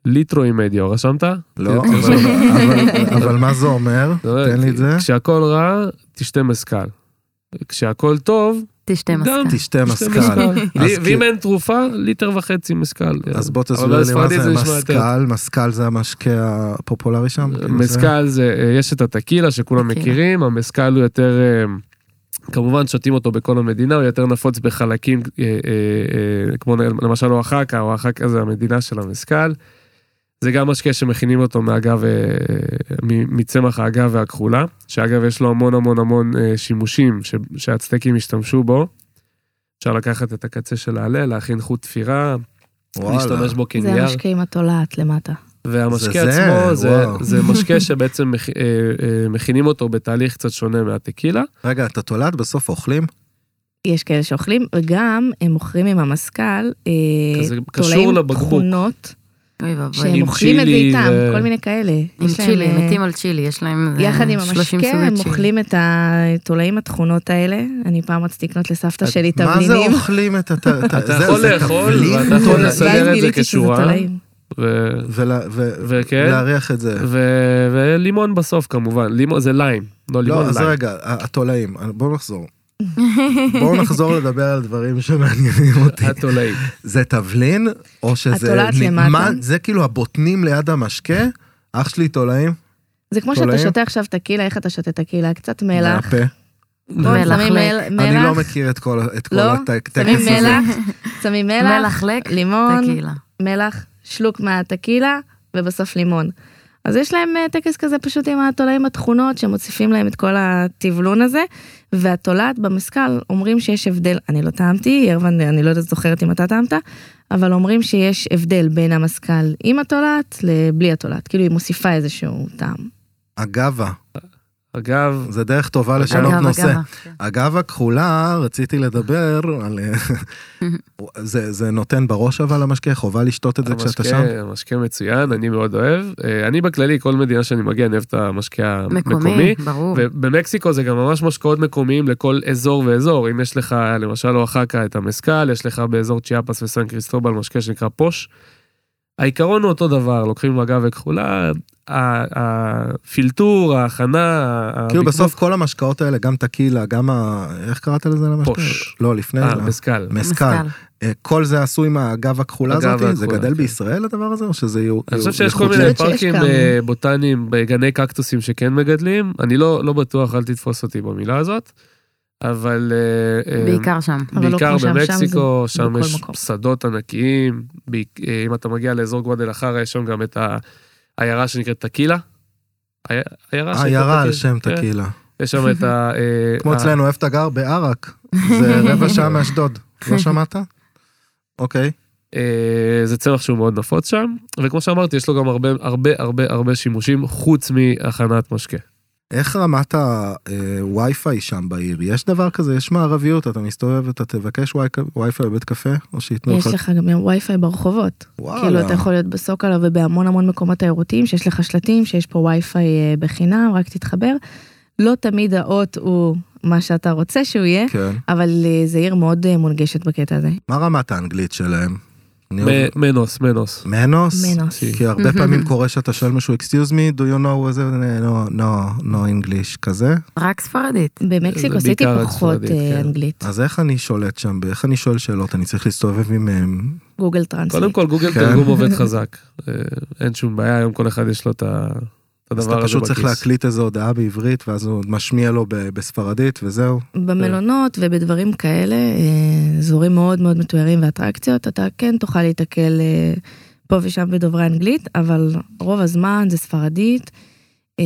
E: ליטרו אימדיו רשמת?
A: לא,
E: תרשום.
A: אבל- אבל- אבל מה זה אומר?
E: אתה יודע,
A: תן לי את זה.
E: כשהכל רע תשתה מזכ"ל. כשהכל טוב
C: תשתה מסקה.
E: גם
A: תשתה
E: תשתה
A: מסקל. אז
E: לי- ואם אין תרופה ליטר וחצי מזכ"ל.
A: אז בוא
E: כן. אבל
A: תסביר לי מה
E: בספרדית
A: זה
E: נשמע יותר. אה,
A: מסקל, מסקל זה המשקה הפופולרי שם? כאילו,
E: מסקל כן, זה, אה, יש את הטקילה שכולם
C: טקילה.
E: מכירים, המסקל הוא יותר, אה, כמובן שותים אותו בכל המדינה, הוא יותר נפוץ בחלקים, אה, אה, אה, כמו נ- למשל אוהחקה, אוהחקה זה המדינה של המסקל. זה גם משקה שמכינים אותו מאגב, אה, מ- מצמח האגב והכחולה, שאגב יש לו המון המון המון אה, שימושים ש- שהצטקים השתמשו בו. אפשר לקחת את הקצה של העלה, להכין חוט תפירה,
A: וואלה.
E: להשתמש בו
B: זה
E: כנייר.
B: המשקה עם התולעת למטה.
E: והמשקה
A: זה זה,
E: עצמו זה,
A: וואו.
E: זה משקה שבעצם מכ, אה, אה, מכינים אותו בתהליך קצת שונה מהטקילה.
A: רגע, את התולעת בסוף אוכלים?
B: יש כאלה שאוכלים, וגם הם מוכרים עם המזכ"ל, אה,
E: כזה קשור
B: תולעים
E: לבקבוק.
B: תכונות,
C: אוי
B: שהם
C: ואבוי.
E: עם
B: אוכלים את זה
E: צ'ילי
B: איתם,
E: ו-
B: כל מיני כאלה.
C: עם
B: יש להם,
C: צ'ילי,
B: אה,
C: מתים על צ'ילי, יש להם אה,
B: יחד עם
C: 30
B: המשקה,
C: סוגי
B: הם
C: צ'ילי.
B: אוכלים את התולעים התכונות האלה. אני פעם רציתי לקנות לסבתא שלי
A: מה זה
B: תבלינים.
A: אוכלים את הת... אתה
E: יכול לאכול, ואתה יכול לסדר את זה כשורה. ו, וכן. אה,
A: ולהריח את זה.
E: ו, ולימון בסוף כמובן, לימון זה ליים, לא לימון,
A: לא, אז
E: ליים.
A: רגע, התולעים, בואו נחזור. בואו נחזור לדבר על דברים שמעניינים אותי.
E: התולעים.
A: זה תבלין, או שזה...
B: התולעת
A: נ-
B: למטה.
A: מה- זה כאילו הבוטנים ליד המשקה? אח שלי תולעים?
B: זה כמו שאתה
A: תולעים?
B: שותה עכשיו טקילה, איך אתה שותה טקילה? קצת מלח.
A: מהפה.
B: פה הם
C: מלח
B: שמים
C: לק.
B: מל-
A: אני לא
B: מלח,
A: מכיר את כל את כל
B: לא?
A: הטקס
B: שמים
A: הזה.
B: מלח, שמים מלח,
C: מלח לק,
B: לימון,
C: טקילה.
B: מלח, שלוק מהטקילה, ובסוף לימון. אז יש להם אה, טקס כזה פשוט עם התולעים התכונות, שמוסיפים להם את כל הטבלון הזה, והתולעת במזכ"ל אומרים שיש הבדל, אני לא טעמתי, ירבן, אני לא יודעת, זוכרת אם אתה טעמת, אבל אומרים שיש הבדל בין המזכ"ל עם התולעת לבלי התולעת, כאילו היא מוסיפה איזשהו טעם.
A: אגבה,
E: אגב,
A: זה דרך טובה לשנות
C: אגב,
A: נושא.
C: אגב.
A: הגב הכחולה, רציתי לדבר על... אה, זה, זה נותן בראש אבל המשקה, חובה לשתות את זה כשאתה שם?
E: המשקה, אה, המשקה מצוין, אני מאוד אוהב. אה, אני בכללי, כל מדינה שאני מגיע, אני אוהב את המשקה המקומי.
C: מקומי, ברור.
E: ובמקסיקו זה גם ממש משקאות מקומיים לכל אזור ואזור. אם יש לך, למשל, אוחקה את המסקל, יש לך באזור צ'יאפס וסן קריסטובל משקה שנקרא פוש. העיקרון הוא אותו דבר, לוקחים מגע וכחולה, ה- הפילטור, ההכנה, ה-
A: כאילו
E: הבקבוק,
A: בסוף כל המשקאות האלה, גם טקילה, גם ה... איך קראת לזה למשקה?
E: פוש.
A: לא, לפני
E: אה,
A: זה.
E: מסקל.
A: מסקל. אה, כל זה עשוי מהגב הכחולה
E: הגב
A: הזאת? זה
E: הכחולה,
A: גדל
E: כן.
A: בישראל הדבר הזה, או שזה יהיו...
E: אני חושב
A: יהיו
E: שיש כל
A: מחוץ ל-
E: מיני
B: שיש
E: פארקים
B: כמה.
E: אה, בוטניים, גני קקטוסים שכן מגדלים, אני לא לא בטוח, אל תתפוס אותי במילה הזאת, אבל... אה, אה,
C: בעיקר שם.
B: אבל לא
E: בעיקר
B: כמו שם, שם
E: במקסיקו,
B: זה
E: שם
B: בכל
E: יש
B: מקום.
E: שדות ענקיים, בעיק- אה, אם אתה מגיע לאזור גואדלחרה, יש שם גם את העיירה שנקראת טקילה. עי- עיירה שנקראת
A: אה, עיירה על
E: טקילה,
A: שם
E: כן.
A: טקילה.
E: יש שם את ה... אה,
A: כמו
E: ה-
A: אצלנו, איפה אתה גר? בעראק. זה רבע שעה מאשדוד. לא שמעת? אוקיי.
E: אה, זה צמח שהוא מאוד נפוץ שם, וכמו שאמרתי, יש לו גם הרבה הרבה הרבה הרבה שימושים חוץ מהכנת משקה.
A: איך רמת הווי-פיי שם בעיר? יש דבר כזה? יש מערביות? אתה מסתובב, אתה תבקש ווי- וי-פיי בבית קפה? או שייתנו לך...
B: יש לך גם וי-פיי ברחובות. כאילו
E: לא.
B: אתה יכול להיות בסוקולה ובהמון המון מקומות תיירותיים שיש לך שלטים שיש פה וי-פיי אה, בחינם רק תתחבר. לא תמיד האות הוא מה שאתה רוצה שהוא יהיה
A: כן.
B: אבל אה, זה עיר מאוד אה, מונגשת בקטע הזה.
A: מה רמת האנגלית שלהם? אני
E: מ-
A: אוהב-
E: מנוס, מנוס.
A: מנוס?
B: מנוס.
A: כי הרבה פעמים קורה שאתה שואל מישהו, excuse me, do you know איזה, no, no, no English כזה?
C: רק ספרדית.
B: במקסיקו
E: זה
B: סיטי
E: בעיקר
B: פחות
E: הצפרדית,
B: אה,
E: כן.
B: אנגלית.
A: אז איך אני שולט שם? איך אני שואל שאלות? אני צריך להסתובב עם... אמ,
B: גוגל טרנסליט.
E: קודם כל גוגל
A: כן.
E: תרגום עובד חזק, אה, אין שום בעיה, היום כל אחד יש לו את ה- את הדבר
A: אז
E: הזה
A: אתה
E: בכיס.
A: פשוט צריך להקליט איזו הודעה בעברית, ואז הוא משמיע לו ב- בספרדית, וזהו.
E: כן.
B: במלונות ובדברים כאלה, אה, אזורים מאוד מאוד מתוירים ואטרקציות, אתה כן תוכל להיתקל אה, פה ושם בדוברי אנגלית, אבל רוב הזמן זה ספרדית. אה,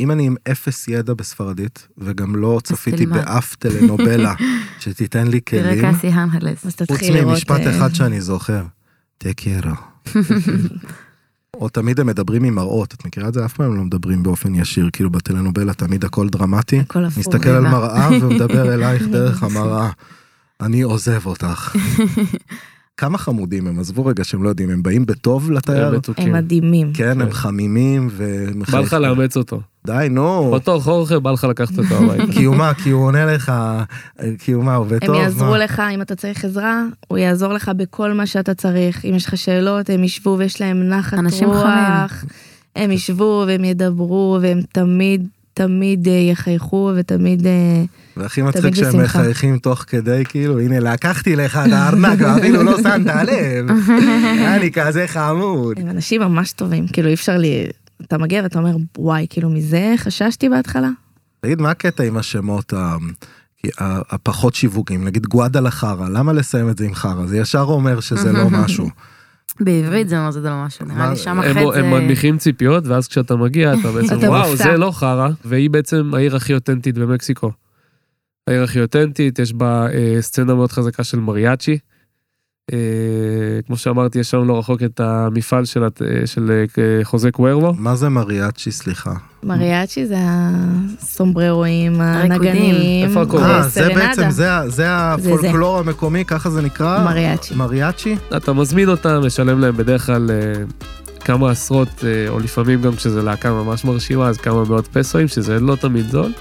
A: אם אני עם אפס ידע בספרדית, וגם לא צפיתי
C: תלמד.
A: באף טלנובלה שתיתן לי
C: תראה
A: כלים,
C: קאסי הנהלס.
B: אז
A: חוץ
B: תתחיל לראות...
A: ממשפט
B: אה,
A: אחד שאני זוכר, תקירו. או תמיד הם מדברים עם מראות, את מכירה את זה? אף פעם הם לא מדברים באופן ישיר, כאילו בטלנובלה תמיד הכל דרמטי.
B: הכל הפוך.
A: מסתכל על
C: רגע.
A: מראה ומדבר אלייך דרך המראה. אני עוזב אותך. כמה חמודים הם, עזבו רגע שהם לא יודעים, הם באים בטוב
E: הם
A: לתייר?
E: מתוקים.
B: הם מדהימים.
A: כן, הם
E: אה, כן.
A: חמימים
E: בא
A: ומחייכים.
E: לך לאמץ אותו.
A: די, נו.
E: אותו חורכה בא לך לקחת אותו הביתה.
A: כי הוא מה, כי הוא עונה לך, אה, כי הוא מה, הוא בטוב?
B: הם יעזרו
A: מה?
B: לך אם אתה צריך עזרה, הוא יעזור לך בכל מה שאתה צריך. אם יש לך שאלות, הם ישבו ויש להם נחת
C: אנשים
B: רוח.
C: חמים.
B: הם ישבו והם ידברו והם תמיד, תמיד אה, יחייכו ותמיד... אה,
A: והכי מצחיק
B: תמיד
A: שהם
B: בשמחה.
A: מחייכים תוך כדי, כאילו, הנה, לקחתי לך את הארנק, ואפילו לא שמת לב. אני כזה חמוד.
B: הם אנשים ממש טובים, כאילו אי אפשר לי... אתה מגיע ואתה אומר, וואי, כאילו מזה חששתי בהתחלה?
A: תגיד, מה הקטע עם השמות ה- ה- הפחות שיווקים? נגיד גואדה לחרא, למה לסיים את זה עם חרא? זה ישר אומר שזה לא משהו.
C: בעברית זה אומר זה לא משהו,
A: מה-
C: נראה לי שם
E: הם-
C: החטא
E: הם
C: זה...
E: מנמיכים ציפיות, ואז כשאתה מגיע, אתה בעצם,
B: אתה
E: וואו,
B: מופתע.
E: זה לא חרא, והיא בעצם העיר הכי אותנטית במקסיקו. העיר הכי אותנטית, יש בה אה, סצנה מאוד חזקה של מריאצ'י. אה, כמו שאמרתי, יש שם לא רחוק את המפעל של הת- אה, של אה, חוזה קוורבו.
A: מה זה מריאצ'י, סליחה?
B: מריאצ'י זה הסומבררואים,
C: הריקודים.
B: הנגנים.
E: איפה הכל?
A: אה, זה
B: וסרנדה.
A: בעצם, זה ה- זה הפולקלור המקומי, ככה זה נקרא?
B: מריאצ'י.
A: מריאצ'י?
E: אתה מזמין אותם, משלם להם בדרך כלל אה, כמה עשרות, אה, או לפעמים גם כשזה להקה ממש מרשימה, אז כמה מאות פסואים, שזה לא תמיד זול,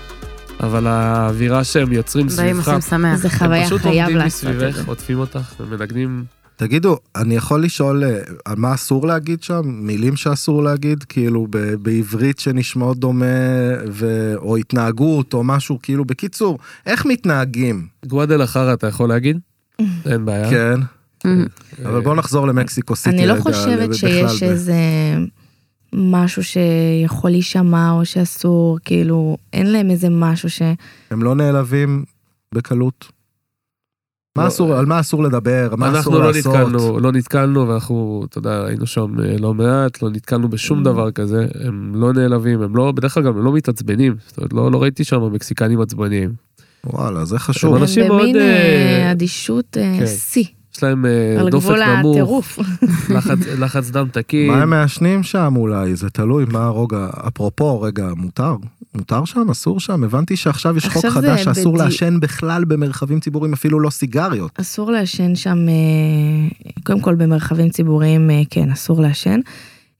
E: אבל האווירה שהם יוצרים
C: באים
E: סביבך,
C: עושים
A: אה,
C: שמח.
B: זה חוויה,
E: הם פשוט
B: חייב
E: עומדים
B: לעשות את זה.
E: מסביבך, עוטפים אותך ומנגנים.
A: תגידו, אני יכול לשאול אה, על מה אסור להגיד שם? מילים שאסור להגיד? כאילו ב- בעברית שנשמעות דומה, ו... או התנהגות, או משהו, כאילו, בקיצור, איך מתנהגים?
E: גואדל אחרא אתה יכול להגיד? אין בעיה.
A: כן,
C: מ-
E: אה,
A: אבל בואו נחזור למקסיקו סיטי.
B: אני לא
A: רגע,
B: חושבת
A: ל-
B: שיש
A: בכלל ב-
B: איזה משהו שיכול להישמע או שאסור, כאילו, אין להם איזה משהו ש...
A: הם לא נעלבים בקלות. מה
E: לא.
A: אסור, על מה אסור לדבר, מה
E: אנחנו
A: אסור
E: לא
A: לעשות.
E: נתקלנו, לא נתקלנו, ואנחנו, אתה יודע, היינו שם אה, לא מעט, לא נתקלנו
B: Mm.
E: בשום דבר כזה, הם לא נעלבים, הם לא, בדרך כלל גם הם לא מתעצבנים, זאת אומרת, לא לא ראיתי שם מקסיקנים עצבניים.
A: וואלה, זה חשוב.
E: אבל- אנשים
B: הם במין
E: מאוד,
B: אה,
E: אה,
B: אדישות אה,
E: כן.
B: שיא,
E: יש להם אה,
B: על
E: דופק
B: גבול
E: נמוך,
B: הטירוף.
E: לחץ- לחץ דם תקין.
A: מה הם מעשנים שם אולי? זה תלוי מה הרוגע. אפרופו, רגע, מותר? מותר שם? אסור שם? הבנתי שעכשיו יש חוק
B: עכשיו זה
A: חדש שאסור
B: בדי-
A: לעשן בכלל במרחבים ציבוריים, אפילו לא סיגריות.
B: אסור לעשן שם, אה, קודם כל במרחבים ציבוריים, אה, כן, אסור לעשן.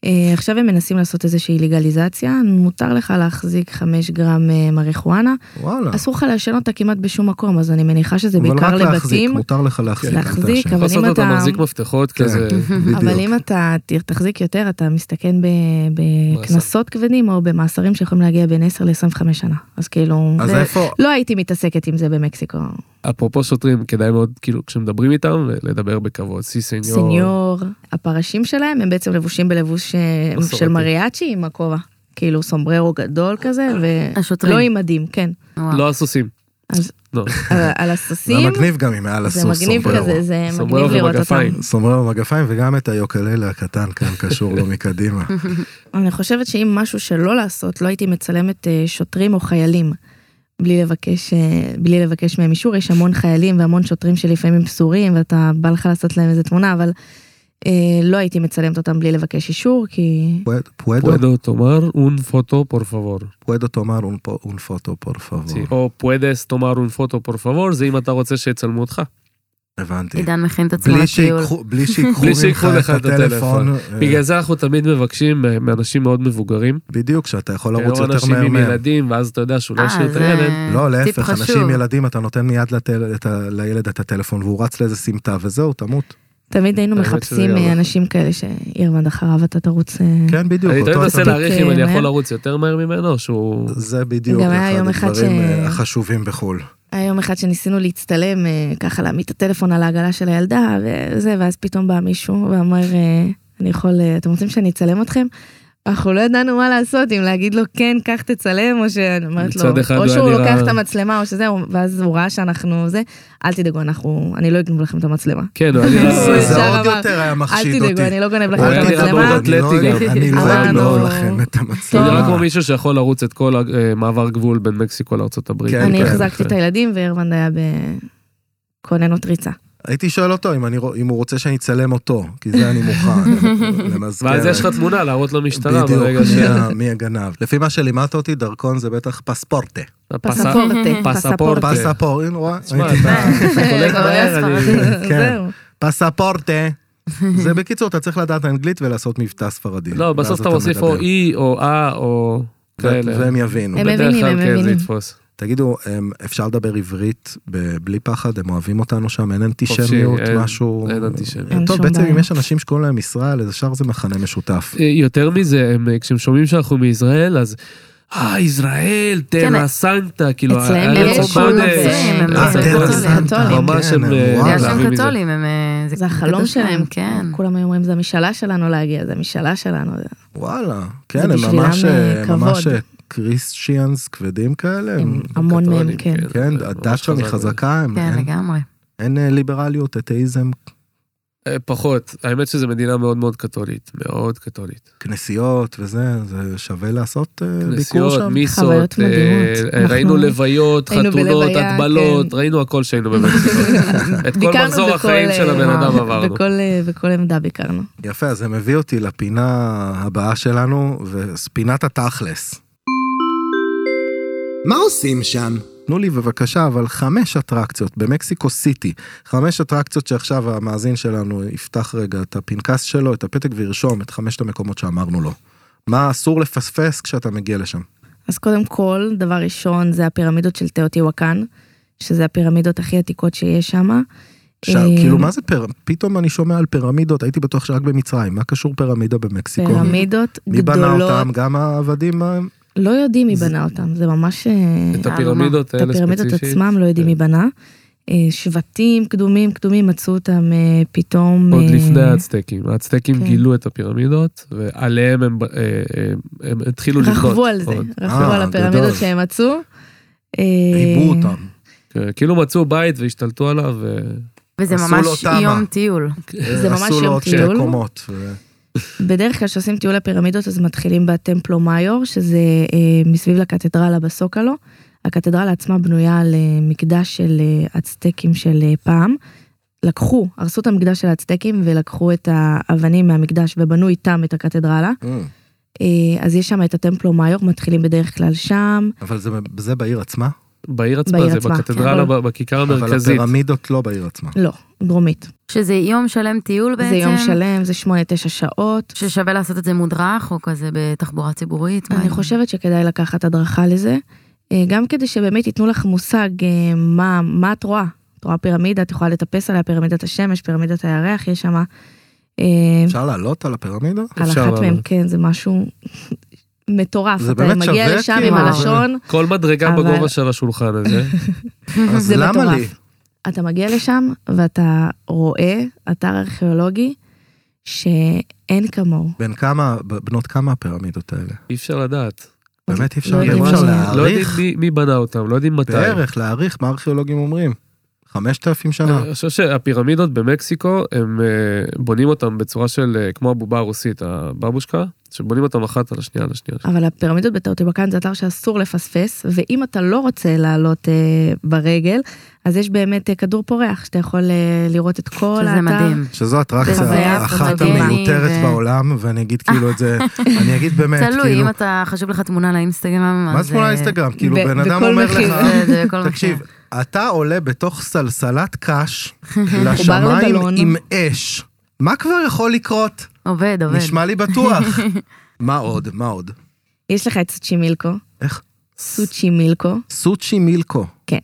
B: אה, עכשיו הם מנסים לעשות איזושהי לגליזציה, מותר לך להחזיק 5 גרם אה, מריחואנה,
E: אה.
A: וואלה.
B: אסור לך לעשן אותה כמעט בשום מקום, אז אני מניחה שזה
A: אבל
B: בעיקר
A: רק להחזיק,
B: לבתים.
A: מותר לך להחזיק. אל
B: להחזיק,
A: תעשן.
B: אבל
E: לעשות
B: אם
E: כן, אתה
B: אתה-
E: מחזיק מפתחות
A: כן,
E: כזה.
B: אבל
A: בדיוק.
B: אם אתה ת- תחזיק יותר, אתה מסתכן ב- בקנסות כבדים או במאסרים שיכולים להגיע בין 10 ל-25 שנה. אז כאילו,
A: אז
B: זה-
A: איפה,
B: לא הייתי מתעסקת עם זה במקסיקו.
E: אפרופו שוטרים, כדאי מאוד, כאילו, כשמדברים איתם, לדבר בכבוד. סי סניור.
B: סניור, הפרשים שלהם הם בעצם לבושים בלבוש אה,
E: מסורתי.
B: של מריאצ'י עם הכובע. כאילו סומבררו גדול כזה,
C: השוטרים.
B: ולא עם מדים, כן.
C: וואו.
E: לא הסוסים.
B: אז-
E: לא,
B: על- על
A: זה
B: הסוסים,
A: מגניב גם אם היה
B: זה
A: לסוס
B: מגניב
A: סומבררו.
B: כזה, זה
E: סומבררו
B: מגניב לראות אותם.
E: ומגפיים.
A: סומבררו במגפיים וגם את היוקללה הקטן כאן קשור לו מקדימה.
B: אני חושבת שאם משהו שלא לעשות, לא הייתי מצלמת אה, שוטרים או חיילים. בלי לבקש, אה, בלי לבקש מהם אישור, יש המון חיילים והמון שוטרים שלפעמים פסורים, ואתה בא לך לעשות להם איזה תמונה, אבל אה, לא הייתי מצלמת אותם בלי לבקש אישור, כי
A: פואד- פואדו,
E: פואדו תאמר און פוטו פור פבור.
A: פואדו תאמר un po- un foto, por favor.
E: או פואדס תאמר און פוטו פור פבור, זה אם אתה רוצה שיצלמו אותך.
A: הבנתי.
C: עידן מכין את עצמו
A: בלי
C: לטיול.
A: שיקחו בלי שיקחו
E: בלי שיקחו
A: ממך את הטלפון. אה,
E: בגלל זה אנחנו תמיד מבקשים אה, מאנשים מאוד מבוגרים.
A: בדיוק, שאתה יכול לרוץ לא
E: או
A: יותר
E: לא אנשים
A: מהר
E: עם
A: מהר.
E: ילדים, ואז אתה יודע שאולי
C: אה,
E: יש לי את
C: זה
E: הילד.
A: לא,
C: טיפ
A: להפך, אנשים
C: חשוב.
A: ילדים, אתה נותן מיד לטל- את ה- לילד את הטלפון והוא רץ לאיזה סמטה וזהו, תמות.
B: תמיד היינו
E: האמת שזה
B: מחפשים
E: גם
B: אה,
E: נכון.
B: אנשים כאלה שירמן אחריו אתה תרוץ. אה,
A: כן, בדיוק.
E: אני
A: אותו
E: תמיד
A: אתה-
E: מנסה להעריך אם
B: אה,
E: אני יכול
B: מהר.
E: לרוץ יותר מהר ממנו, שהוא...
A: זה בדיוק
B: גם היה
A: אחד
B: יום אחד
A: הדברים
B: ש-
A: אה, החשובים בחו"ל.
B: היה יום אחד שניסינו להצטלם, אה, ככה להעמיד את הטלפון על העגלה של הילדה וזה, ואז פתאום בא מישהו ואמר, אה, אני יכול, אה, אתם רוצים שאני אצלם אתכם? אנחנו לא ידענו מה לעשות, אם להגיד לו כן, קח תצלם, או שאני אומרת לו,
E: מצד אחד
B: או
E: הוא היה
B: שהוא
E: נראה-
B: לוקח את המצלמה, או שזה, הוא- ואז הוא ראה שאנחנו זה, אל תדאגו, אנחנו, אני לא אגנוב לכם את המצלמה.
E: כן, הוא היה
B: הוא
E: נראה-
A: זה
B: ישר
A: עוד
B: אמר,
A: יותר היה
B: אל
A: מחשיד
B: תדאגו,
A: אותי.
B: אני לא גונב לכם
E: הוא היה
B: את
E: נראה
B: המצלמה.
E: מאוד אתלטי
A: אני לא-
E: גם.
A: אני לא
B: אבל
A: אגנוב
B: לא-
A: לכם את
E: הוא
B: אה.
E: נראה
A: המצלמה.
E: כמו מישהו שיכול לרוץ את כל המעבר גבול בין מקסיקו לארצות הברית.
A: כן,
B: אני
A: כן.
B: החזקתי את הילדים, והרוונד היה בכוננות ריצה.
A: הייתי שואל אותו אם אני רוא- אם הוא רוצה שאני אצלם אותו, כי זה אני מוכן. למזכר.
E: ואז יש לך תמונה להראות למשטרה
A: כן. בדיוק,
E: ברגע
A: מי
E: ש...
A: ה- מי הגנב. לפי מה שלימדת אותי, דרכון זה בטח פספורטה.
B: פספורטה.
E: פספורטה.
B: פספורטה.
A: פספורט, הנה, רואה?
E: תשמע, אתה
B: כן,
E: קולט
B: לא,
E: מהר, אני...
A: כן.
B: זהו.
A: פספורטה. זה בקיצור, אתה צריך לדעת אנגלית ולעשות מבטא ספרדי.
E: לא, בסוף
A: ואז
E: אתה מוסיף או
A: מדבר.
E: אי או אה או
A: ו-
E: כאלה.
A: והם יבינו.
B: הם
E: בדרך
B: מבינים,
E: כלל,
B: הם
E: כן, זה
B: מבינים.
E: יתפוס.
A: תגידו, אמ, אפשר לדבר עברית ב- בלי פחד? הם אוהבים אותנו שם? אין
E: חופשי,
A: אנטישמיות,
E: אין- לא
A: משהו?
E: אין אנטישמיות.
B: אין
A: טוב,
B: שום
A: בעצם
B: בעיה.
A: אם יש אנשים שקוראים להם ישראל, אז ישר זה מכנה משותף.
E: אה, יותר מזה, הם, אה, כשהם שומעים שאנחנו מישראל, אז... אה, ישראל, תרא סנטה, כאילו,
B: אצלהם
E: הארץ
B: כן, אה, יש
E: הקודש.
C: נוצרים, הם
E: אה,
B: לא
C: נוצרים
E: תרא
C: קתולים.
E: סנטה,
A: קתולים,
E: ממש
A: כן,
E: הם... אה,
A: וואלה.
C: בגלל שהם
E: אוהבים את זה.
C: קתולים, הם... אה,
B: זה החלום
C: קדוש להם,
B: שלהם,
C: כן.
B: כולם היו אומרים, זה המשאלה שלנו להגיע, זה המשאלה שלנו.
A: וואלה, כן, הם
B: בשבילם,
A: ממש,
B: אה,
A: הם ממש
B: כבוד.
A: אה, קריסטיאנס כבדים כאלה. הם-
B: הם המון מהם,
E: קתולים,
B: כן.
A: כן,
E: זה
A: הדת
E: ממש
A: שם היא
E: חזק.
A: חזקה, הם-
C: כן,
A: אין-
C: לגמרי.
A: אין אה, ליברליות, אתאיזם,
E: אה, פחות, האמת שזו מדינה מאוד מאוד קתולית, מאוד קתולית.
A: כנסיות וזה, זה שווה לעשות אה, ביקור
E: נסיעות,
A: שם.
E: מיסות,
B: חוויות
E: אה,
B: מדהימות.
E: אה, ראינו
B: אנחנו-
E: לוויות,
B: היינו
E: חתונות,
B: בלוויה,
E: הטבלות,
B: כן.
E: ראינו הכל שהיינו במקסיקו. את כל
B: ביקרנו
E: מחזור
B: בכל,
E: החיים של
B: אה,
E: הבן אדם
B: וואו,
E: עברנו.
B: בכל, אה, בכל עמדה ביקרנו.
A: יפה, אז זה מביא אותי לפינה הבאה שלנו, ופינת התכלס.
D: מה עושים שם?
A: תנו לי בבקשה, אבל חמש אטרקציות במקסיקו סיטי. חמש אטרקציות שעכשיו המאזין שלנו יפתח רגע את הפנקס שלו, את הפתק וירשום את חמשת המקומות שאמרנו לו. מה אסור לפספס כשאתה מגיע לשם?
B: אז קודם כל, דבר ראשון, זה הפירמידות של תאוטיוואקן, שזה הפירמידות הכי עתיקות שיש שם.
A: עכשיו,
B: אה,
A: כאילו מה זה פר... פתאום אני שומע על פירמידות, הייתי בטוח שרק במצרים, מה קשור פירמידה במקסיקו?
B: פירמידות
A: מי בנה
B: גדולות,
A: אותם? גם העבדים? אה,
B: לא יודעים מי בנה אותם, זה ממש... אה,
E: את הפירמידות כן.
B: את
E: האלה
B: הפירמידות
E: ספציפית.
B: עצמם לא יודעים מי בנה. אה, שבטים קדומים קדומים מצאו אותם אה, פתאום.
E: עוד
B: אה,
E: לפני האצטקים, האצטקים
B: כן.
E: גילו את הפירמידות, ועליהם הם, אה, אה, הם התחילו לבנות.
B: רכבו על זה,
E: עוד.
B: רכבו
A: אה,
B: על
A: גדול.
B: הפירמידות שהם מצאו. אה,
A: עיבו אותם.
E: כן, כאילו מצאו בית והשתלטו עליו, ו-
C: וזה
A: עשו לו
C: ממש
A: תמה.
C: יום טיול.
B: זה ממש
A: אה, עשו לו
B: יום
A: עוד שתי
B: טיול.
A: קומות. ו-
B: בדרך כלל כשעושים טיול לפירמידות אז מתחילים בטמפלו מאיור, שזה אה, מסביב לקתדרלה בסוקלו. הקתדרלה עצמה בנויה על אה, מקדש של אה, הצטקים של אה, פעם. לקחו, הרסו את המקדש של הצטקים ולקחו את האבנים מהמקדש ובנו איתם את הקתדרלה. אה, אז יש שם את הטמפלו מאיור, מתחילים בדרך כלל שם.
A: אבל זה- זה בעיר עצמה?
E: בעיר עצמה,
B: בעיר
E: זה
B: עצמה,
E: בקתדרלה,
B: כן.
E: ב- בכיכר
A: אבל
E: המרכזית.
A: הפירמידות לא בעיר עצמה.
B: לא, דרומית.
C: שזה יום שלם טיול בעצם.
B: זה יום שלם, זה 8-9 שעות.
C: ששווה לעשות את זה מודרך, או כזה בתחבורה ציבורית. מה
A: אה.
B: אני
C: עם-
B: חושבת שכדאי לקחת הדרכה לזה, אה, גם כדי שבאמת ייתנו לך מושג אה, מה, מה את רואה. את רואה פירמידה, את יכולה לטפס עליה, פירמידת השמש, פירמידת הירח, יש שם...
A: אפשר לעלות על הפירמידה?
B: על
E: אפשר
B: אחת
E: לעלות.
B: מהן, כן, זה משהו מטורף.
A: זה
B: אתה
A: באמת
B: מגיע
A: שווה,
B: לשם
A: כאילו,
B: עם
C: זה-
B: הלשון,
E: כל מדרגה
B: אבל-
E: בגובה של השולחן הזה.
A: אז
B: זה
A: למה לי?
B: מטורף. אתה מגיע לשם ואתה רואה אתר ארכיאולוגי שאין כמוהו.
A: בין כמה, ב- בנות כמה הפירמידות האלה?
E: אי אפשר לדעת.
A: באמת אי אפשר,
B: לא
A: אי
B: יודעים
A: אפשר
B: מה-
E: לא יודעים
A: להעריך,
E: מי- מי בנה אותם, לא יודעים מתי.
A: בערך להעריך מה הארכיאולוגים אומרים. 5,000 שנה.
E: אני חושב שהפירמידות במקסיקו, הם אה, בונים אותם בצורה של, אה, כמו הבובה הרוסית, הבבושקה, שבונים אותם אחת על השנייה על השנייה.
B: אבל הפירמידות בטאוטיבקן זה אתר שאסור לפספס, ואם אתה לא רוצה לעלות אה, ברגל, אז יש באמת אה, כדור פורח שאתה יכול אה, לראות את כל האתר.
C: שזה מדהים.
A: שזו
C: חוויה
A: אטרקציה אחת
C: פוטוגנית
A: המיותרת
C: ו-
A: בעולם, ואני אגיד כאילו את זה, אני אגיד באמת,
C: תלוי,
A: כאילו,
C: אם אתה חשוב לך תמונה לאינסטגרם, אה,
A: מה זה תמונה אינסטגרם? כאילו
B: ב-
A: בן אדם
B: בכל
A: אומר
B: מחיר.
A: לך,
C: זה- זה בכל
A: תקשיב,
C: מחיר.
A: אתה עולה בתוך סלסלת קש לשמיים
B: לבלון.
A: עם אש. מה כבר יכול לקרות?
C: עובד, עובד.
A: נשמע לי בטוח. מה עוד? מה עוד?
B: יש לך את סוצ'י מילקו,
A: איך?
B: סוצ'י מילקו.
A: סוצ'י מילקו.
B: כן.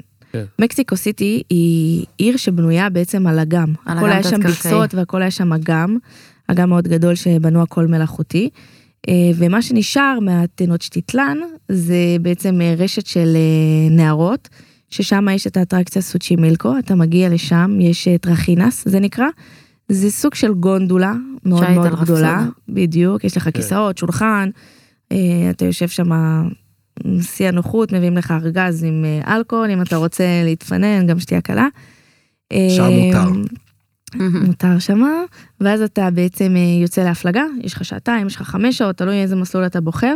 B: מקסיקו סיטי היא עיר שבנויה בעצם על אגם.
C: על
B: הכל
C: אגם
B: היה שם
C: תת-קרקעי.
B: ביצות והכל היה שם אגם, אגם מאוד גדול שבנו הכל מלאכותי. אה, ומה שנשאר מהטנוצ'טיטלן זה בעצם אה, רשת של אה, נערות, ששם יש את האטרקציה סוצ'י מילקו, אתה מגיע לשם, יש אה, טרכינס, זה נקרא. זה סוג של גונדולה מאוד
C: שיט
B: מאוד
C: על
B: גדולה,
C: רפסודה.
B: בדיוק, יש לך כיסאות, שולחן, אה, אתה יושב שם שיא הנוחות, מביאים לך ארגז עם אה, אלכוהול, אם אתה רוצה להתפנן, גם שתייה קלה.
A: שם מותר.
C: Mm-hmm.
B: מותר שמה, ואז אתה בעצם אה, יוצא להפלגה, יש לך שעתיים, יש לך חמש שעות, תלוי איזה מסלול אתה בוחר,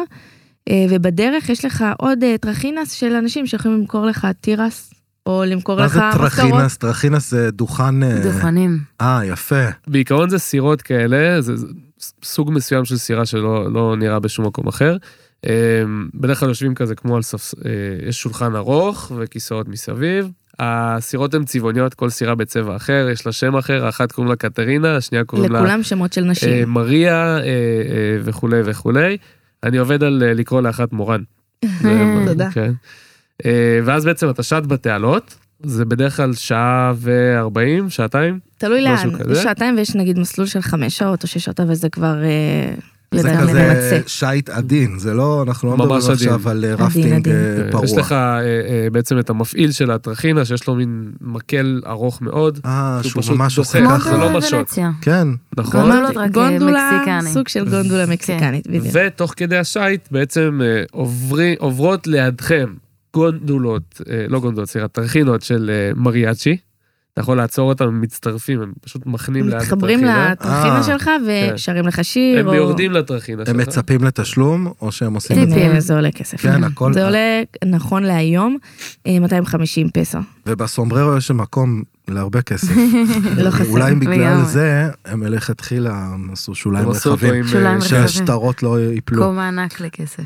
B: אה, ובדרך יש לך עוד אה, טרכינס של אנשים שיכולים למכור לך תירס, או למכור
A: מה
B: לך
A: זה
B: מזכרות.
A: טרכינס? טרכינס זה דוכן... אה,
C: דוכנים.
A: אה, יפה.
E: בעיקרון זה סירות כאלה, זה זה סוג מסוים של סירה שלא לא נראה בשום מקום אחר. אה, בדרך כלל יושבים כזה כמו על ספס... אה, יש שולחן ארוך וכיסאות מסביב. הסירות הן צבעוניות, כל סירה בצבע אחר, יש לה שם אחר, האחת קוראים לה קטרינה, השנייה קוראים לה
B: לכולם שמות של
E: אה,
B: נשים.
E: מריה אה, אה, וכולי וכולי. אני עובד על אה, לקרוא לאחת מורן. זה-
B: תודה.
E: כן. אה, ואז בעצם אתה שט בתעלות, זה בדרך כלל שעה וארבעים, שעתיים.
B: תלוי לאן,
E: משהו כזה?
B: יש שעתיים ויש נגיד מסלול של חמש שעות או שש שעות, אבל זה כבר... אה,
A: זה
B: לדעתי
A: כזה
B: ממצה.
A: שייט עדין, זה לא, אנחנו לא
E: ממש
A: מדברים
E: עדין.
A: עכשיו על אה,
B: עדין,
A: רפטינג
B: עדין.
A: אה,
E: אה,
A: פרוע.
E: יש לך אה, אה, בעצם את המפעיל של הטרחינה, שיש לו מין מקל ארוך מאוד.
A: אה,
E: שהוא
A: שהוא
E: פשוט
A: ממש עושה
E: דוחף.
A: ככה.
E: זה לא
C: כמו
E: בשוט.
C: בוונציה.
A: כן,
E: נכון?
C: גונדולות, רק, אה,
B: גונדולה,
C: מקסיקני. כן.
B: סוג של גונדולה מקסיקנית, בדיוק.
E: ותוך כדי השייט בעצם אה, עוברי- עוברות לידכם גונדולות, אה, לא גונדולות, סליחה, טרחינות של אה, מריאצ'י. אתה יכול לעצור אותם, הם מצטרפים, הם פשוט מחנים ליד
B: מתחברים
E: הטרחינה.
B: לטרחינה
A: אה.
B: שלך ושרים לך שיר,
E: כן. הם יורדים לטרחינה
A: הם
E: שלך.
A: מצפים לתשלום, או שהם עושים את
C: טיפים.
A: זה.
B: טיפים. זה עולה כסף.
A: כן, הכל-
B: זה עולה נכון להיום אה, 250 פסו.
A: ובסומבררו יש מקום להרבה כסף.
B: לא חסר.
A: אולי בגלל
C: לגמרי.
A: זה הם מלכתחילה עשו שוליים
E: הם עשו אותו
A: רחבים,
E: עם, אה,
C: שוליים רחבים.
A: שהשטרות לא ייפלו.
C: קום ענק לכסף.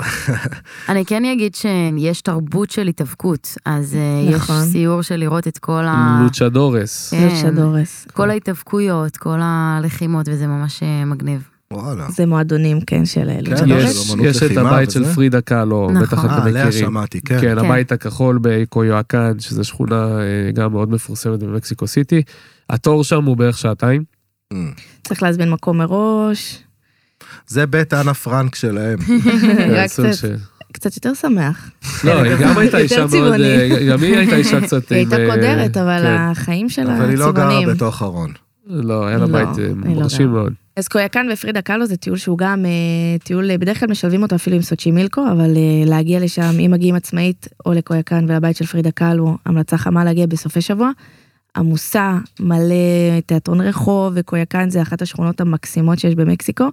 C: אני כן אגיד שיש תרבות של התאבקות, אז אה, יש
B: נכון.
C: סיור של לראות את כל ה...
E: לוצ'דורס.
C: כן.
B: זה שדורס.
C: כל ההתאבקויות, כל הלחימות, וזה ממש אה, מגניב.
A: וואלה.
B: זה מועדונים, כן, של
A: כן,
B: לוצ'דורס.
A: יש-
E: יש,
A: אומנות
E: יש את
A: לחימה
E: הבית
A: וזה.
E: של פרידה קאלו,
C: נכון.
A: אה,
E: בטח אתם
A: עליה
E: מכירים.
A: שמעתי,
E: כן,
A: כן.
E: הבית הכחול בקויואקן, שזו שכונה אה, גם מאוד מפורסמת במקסיקו סיטי. התור שם הוא בערך שעתיים.
B: צריך להזמין מקום מראש,
A: Mm. זה בית אנה פרנק שלהם.
B: כן, רק
E: סוג
B: קצת-
E: של-
B: קצת יותר שמח.
E: כן, לא, היא גם הייתה
B: יותר
E: אישה מאוד...
B: צבעוני.
E: אה, גם היא הייתה אישה קצת...
B: היא הייתה
E: עם, אה,
B: קודרת, אבל
E: כן.
B: החיים שלה
A: אבל היא לא גרה
B: צבעונים.
A: בתוך ארון.
E: לא, היה לה
B: לא,
E: בית אה,
B: היא לא
E: מרשים
B: גרה.
E: מאוד.
B: אז קויאקן ופרידה קאלו זה טיול שהוא גם אה, טיול, אה, בדרך כלל משלבים אותו אפילו עם סוצ'י מילקו, אבל אה, להגיע לשם, אם מגיעים עצמאית או לקויאקן ולבית של פרידה קאלו, המלצה חמה להגיע בסופי שבוע. עמוסה, מלא תיאטרון רחוב, וקויאקן זה אחת השכונות המקסימות שיש במקסיקו.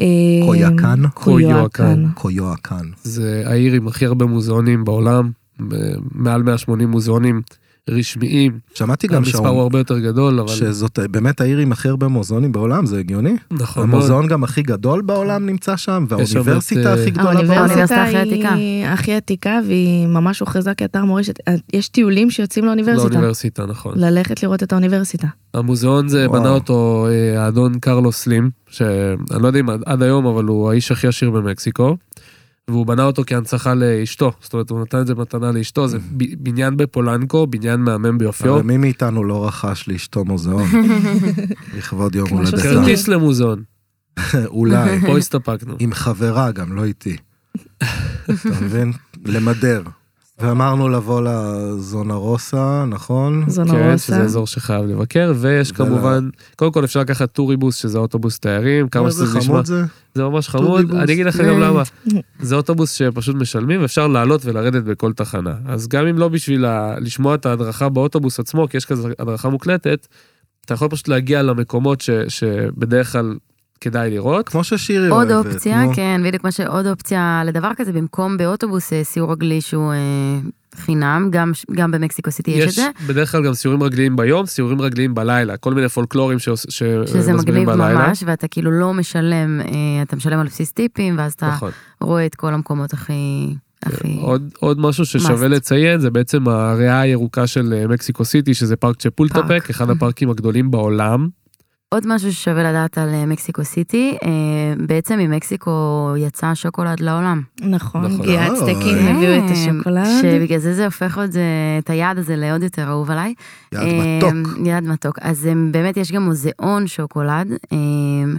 B: אה,
A: קויאקן?
B: כן. קויאקן.
A: קויואקן.
E: אה, זה העיר עם הכי הרבה מוזיאונים בעולם, ב- מעל 180 מוזיאונים. רשמיים.
A: שמעתי גם
E: המספר הוא
A: שעון,
E: הרבה יותר גדול, אבל...
A: שזאת אה, באמת העיר עם הכי הרבה מוזיאונים בעולם, זה הגיוני?
E: נכון מאוד.
A: המוזיאון גם הכי גדול בעולם נמצא שם,
E: שם
A: והאוניברסיטה
E: את,
A: הכי גדולה בעולם.
B: האוניברסיטה
C: האוניברסיטה הכי
B: היא הכי עתיקה והיא ממש הוכרזה כאתר מורשת. אה, יש טיולים שיוצאים לאוניברסיטה.
E: לאוניברסיטה, נכון.
B: ללכת לראות את האוניברסיטה.
E: המוזיאון זה
A: וואו.
E: בנה אותו אה, האדון קרלוס סלים, שאני לא יודע אם עד- עד היום, אבל הוא האיש הכי עשיר במקסיקו, והוא בנה אותו כהנצחה לאשתו, זאת אומרת, הוא נתן את זה מתנה לאשתו, זה ב- בניין בפולנקו, בניין מהמם ביופיו.
A: הרי מי מאיתנו לא רכש לאשתו מוזיאון? לכבוד יום
B: כמו
A: הולדתה.
B: שעושים.
E: כרטיס למוזיאון,
A: אולי.
E: פה הסתפקנו.
A: עם חברה גם, לא איתי. אתה מבין? למדר. ואמרנו לבוא לזונה רוסה, נכון?
E: כן,
B: זונורוסה.
E: שזה אזור שחייב לבקר, ויש
A: ולא.
E: כמובן, קודם כל אפשר לקחת טוריבוס, שזה אוטובוס תיירים, כמה
A: איזה
E: שזה נשמע,
A: חמוד אה, זה?
E: זה ממש חמוד,
A: טוריבוס.
E: אני אגיד לך גם
C: אה.
E: למה, זה אוטובוס שפשוט משלמים, ואפשר לעלות ולרדת בכל תחנה. אז גם אם לא בשביל ה- לשמוע את ההדרכה באוטובוס עצמו, כי יש כזה הדרכה מוקלטת, אתה יכול פשוט להגיע למקומות ש- שבדרך כלל כדאי לראות.
A: כמו ששירי
C: עוד
A: אוהבת.
C: אופציה,
A: נו.
C: כן, בדיוק מה שעוד אופציה לדבר כזה, במקום באוטובוס אה, סיור רגלי שהוא אה, חינם, גם, גם במקסיקו סיטי יש, את
E: יש אה,
C: זה.
E: בדרך כלל גם סיורים רגליים ביום, סיורים רגליים בלילה, כל מיני פולקלורים שעוש-
C: שזה
E: שמסבירים
C: מגניב
E: בלילה.
C: ממש, ואתה כאילו לא משלם, אה, אתה משלם על בסיס טיפים, ואז אתה
E: נכון. אה,
C: רואה את כל המקומות הכי... הכי...
E: עוד, עוד משהו ששווה
C: Must.
E: לציין זה בעצם הריאה הירוקה של אה, מקסיקו סיטי שזה פארק צ'פולטפק
C: פארק.
E: אחד הפארקים הגדולים בעולם
C: עוד משהו ששווה לדעת על אה, מקסיקו סיטי, אה, בעצם ממקסיקו יצא השוקולד לעולם.
B: נכון,
E: נכון.
B: כי
A: אה,
B: האצטקים
A: אה.
B: הביאו את
C: אה,
B: השוקולד.
C: שבגלל זה זה הופך עוד אה, את היעד הזה לעוד יותר אהוב עליי.
A: יד מתוק.
C: אמ, יד מתוק. אז אמ, באמת יש גם מוזיאון שוקולד, אמ,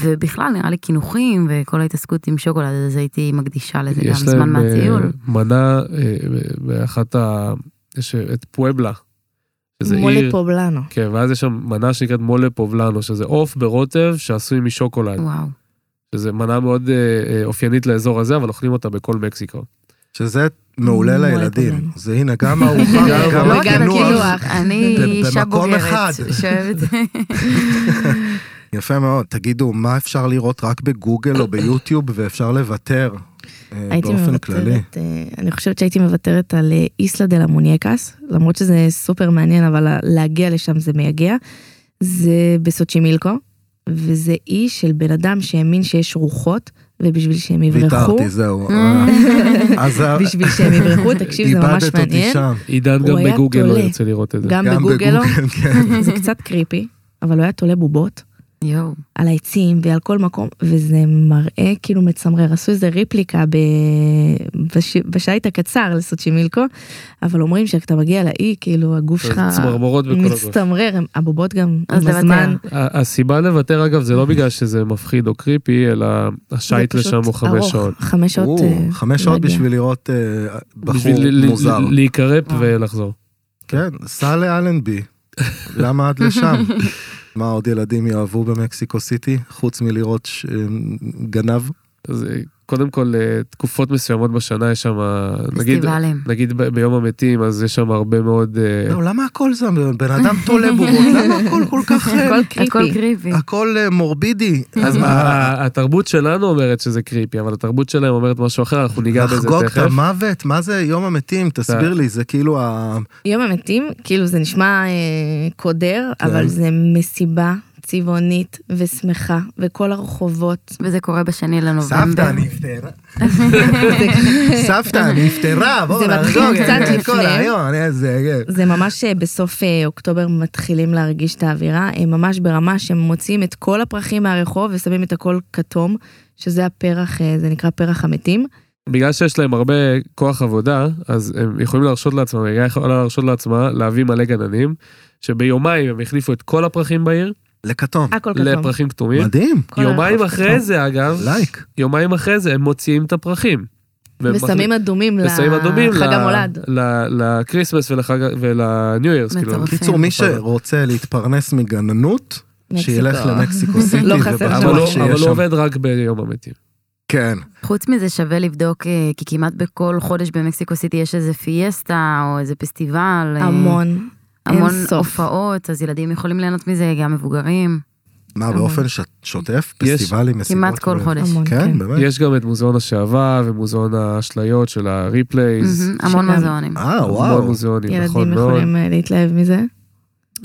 C: ובכלל נראה לי קינוחים וכל ההתעסקות עם שוקולד, אז הייתי מקדישה לזה גם
E: יש
C: זמן
E: להם אה,
C: מהטיול.
E: מנה אה, באחת ה... יש אה, את פואבלה. שזה
B: מולי
E: עיר,
B: פובלנו.
A: אה,
E: כן, ואז יש שם מנה שנקראת מולה פובלנו, שזה עוף ברוטב שעשוי משוקולד,
C: וואו.
E: שזה מנה מאוד אה, אה, אופיינית לאזור הזה, אבל אוכלים אותה בכל מקסיקו.
A: שזה מעולה
B: מועל
A: לילדים.
B: פנים.
A: זה הנה, גם ארוחה וגם
E: גם-
C: לא רק על
A: הקינוח.
C: הקינוח, אני
A: ב-
C: אישה
A: במקום
C: בוגרת,
A: אחד.
C: שאוהבת.
A: יפה מאוד. תגידו, מה אפשר לראות רק בגוגל או ביוטיוב ואפשר לוותר? אה,
B: הייתי
A: באופן כללי.
B: מוותרת, אה, אני חושבת שהייתי מוותרת על אה, איסלה דה לה מוניאקס, למרות שזה סופר מעניין, אבל ה- להגיע לשם זה מייגע. זה בסוצ'ימילקו, וזה אי של בן אדם שהאמין שיש רוחות, ובשביל שהם יברחו,
A: ויתרתי, זהו.
C: Mm.
A: אה, אז ה-
B: בשביל שהם יברחו, תקשיב, זה ממש
A: איבדת אותי
B: מעניין.
A: שם.
E: עידן
B: הוא
E: גם
B: היה
E: בגוגל לא
B: תולה.
E: ירצה לראות את זה.
B: גם בגוגל לא,
A: כן.
B: זה קצת קריפי, אבל הוא היה תולה בובות
C: יואו.
B: על העצים ועל כל מקום, וזה מראה כאילו מצמרר. עשו איזה ריפליקה ב... בש... בשייט הקצר לסוצ'ימילקו, אבל אומרים שכשאתה מגיע לאי, כאילו הגוף שלך
E: צמרמורות בכל הגוף.
B: מצטמרר, הם- הבובות גם
C: אז
B: עם
C: לוותר.
B: הזמן.
E: ה- הסיבה לוותר אגב זה לא בגלל שזה מפחיד או קריפי אלא השייט
B: זה פשוט
E: לשם הוא חמש
B: ארוך,
E: שעות.
B: חמש שעות.
A: או,
B: אה,
A: חמש שעות
B: להגיע.
A: בשביל לראות אה, בחור
E: בשביל ל- ל-
A: מוזר.
E: להיקרפ
C: וואו.
E: ולחזור.
A: כן, סע לאלנבי. למה עד לשם? מה עוד ילדים יאהבו במקסיקו סיטי, חוץ מלראות ש- אה, גנב?
E: אז אה, קודם כל אה, תקופות מסוימות בשנה יש שם אה, נגיד
C: פסטיבלים.
E: נגיד ב- ביום המתים אז יש שם הרבה מאוד אה,
A: לא, למה הכל זה, בן אדם תולה בובות, למה הכל כל כך, אה,
B: הכל
C: הכל
B: קריפי.
C: קריפי.
A: הכל אה, מורבידי?
E: אז מה, ה- התרבות שלנו אומרת שזה קריפי אבל התרבות שלהם אומרת משהו אחר אנחנו ניגע בזה
A: לחגוג את
E: תכף.
A: המוות? מה זה יום המתים? תסביר לי, זה כאילו ה...
B: יום המתים, כאילו זה נשמע אה, קודר,
A: כן.
B: אבל זה מסיבה צבעונית ושמחה, וכל הרחובות.
C: וזה קורה בשני לנובמבר.
A: סבתא נפטרה. סבתא נפטרה, בואו
B: זה מתחיל
A: נחגוג את
B: קצת
A: כל
B: לפני.
A: היום, אני איזה... כן.
B: זה ממש אה, בסוף אה, אוקטובר מתחילים להרגיש את האווירה, הם ממש ברמה שהם מוציאים את כל הפרחים מהרחוב ושמים את הכל כתום, שזה הפרח, אה, זה נקרא פרח המתים.
E: בגלל שיש להם הרבה כוח עבודה, אז הם יכולים להרשות לעצמם, העירייה יכולה להרשות לעצמה להביא מלא גננים, שביומיים הם החליפו את כל הפרחים בעיר
A: לכתום.
B: הכל כתום.
E: לפרחים כתומים.
A: מדהים,
B: כל
E: יומיים
B: הרחוב
E: אחרי
B: כתום.
E: זה אגב,
A: לייק.
E: יומיים אחרי זה הם מוציאים את הפרחים. והם מחליפים-
B: ושמים אדומים
E: ושמים אדומים
B: לחג
E: ל-
B: המולד.
E: ל- לקריסמס ולחג ולניו ירס. כאילו.
C: מטורף.
A: קיצור, מי שרוצה להתפרנס מגננות,
B: מקסיקו.
A: שילך למקסיקו סיטי.
B: לא חסר
E: אבל
A: ובטוח
B: שם.
E: הוא-
A: שיהיה
E: אבל
A: שם.
E: הוא עובד רק ביום המתים.
A: כן.
C: חוץ מזה שווה לבדוק, אה, כי כמעט בכל חודש במקסיקו סיטי יש איזה פיאסטה או איזה פסטיבל. אה,
B: המון. אין
C: המון
B: סוף.
C: הופעות, אז ילדים יכולים ליהנות מזה, גם מבוגרים.
A: מה, באופן ש- שוטף?
E: יש
A: פסטיבלים, מסיבות?
C: כמעט כל
A: ו-
C: חודש.
B: המון,
A: כן, באמת?
E: יש גם את מוזיאון השעווה ומוזיאון האשליות של הריפלייז.
C: מהמם, המון
B: שגם-
C: מוזיאונים.
A: אה,
E: המון
A: וואו.
E: מוזיאונים, נכון
B: ילדים
E: מאוד.
B: יכולים אה, להתלהב מזה.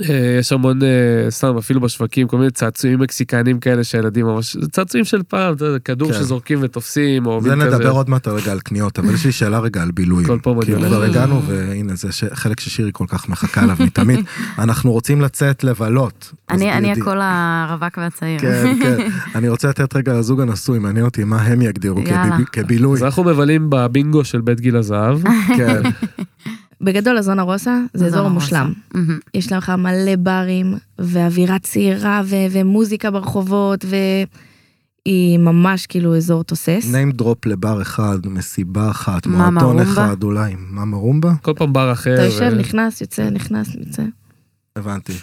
E: אה, יש המון, אה, סתם, אפילו בשווקים, כל מיני צעצועים מקסיקנים כאלה שהילדים ממש, זה צעצועים של פעם, אתה יודע, כדור
A: כן.
E: שזורקים ותופסים, או
A: זה
E: מין כזה.
A: נדבר עוד מעט רגע על קניות, אבל יש לי שאלה רגע על בילויים.
E: כל פעם אני
A: כי
E: הולך.
A: כבר הגענו, והנה, זה ש- חלק ששירי כל כך מחכה עליו מתמיד. אנחנו רוצים לצאת לבלות. אז
C: אני אני
A: בדיוק.
C: הקול הרווק והצעיר.
A: כן, כן. אני רוצה לתת רגע לזוג הנשוי, מעניין אותי מה הם יגדירו כביב-
C: יאללה.
A: כבילוי.
E: אז אנחנו מבלים בבינגו של בית גיל הזהב.
A: כן,
B: בגדול, הזונה רוסה זה
C: זונה
B: אזור
C: רוסה.
B: מושלם.
C: לא מהמם.
B: יש לך מלא ברים, ואווירה צעירה, ו- ומוזיקה ברחובות, והיא ממש כאילו אזור תוסס.
A: name drop לבר אחד, מסיבה אחת,
C: מאמה
A: מועדון
C: רומבה?
A: אחד אולי. מה מרומבה?
E: כל פעם בר אחר.
A: אה,
B: אתה יושב,
E: ו-
B: נכנס, יוצא, נכנס, יוצא.
A: הבנתי.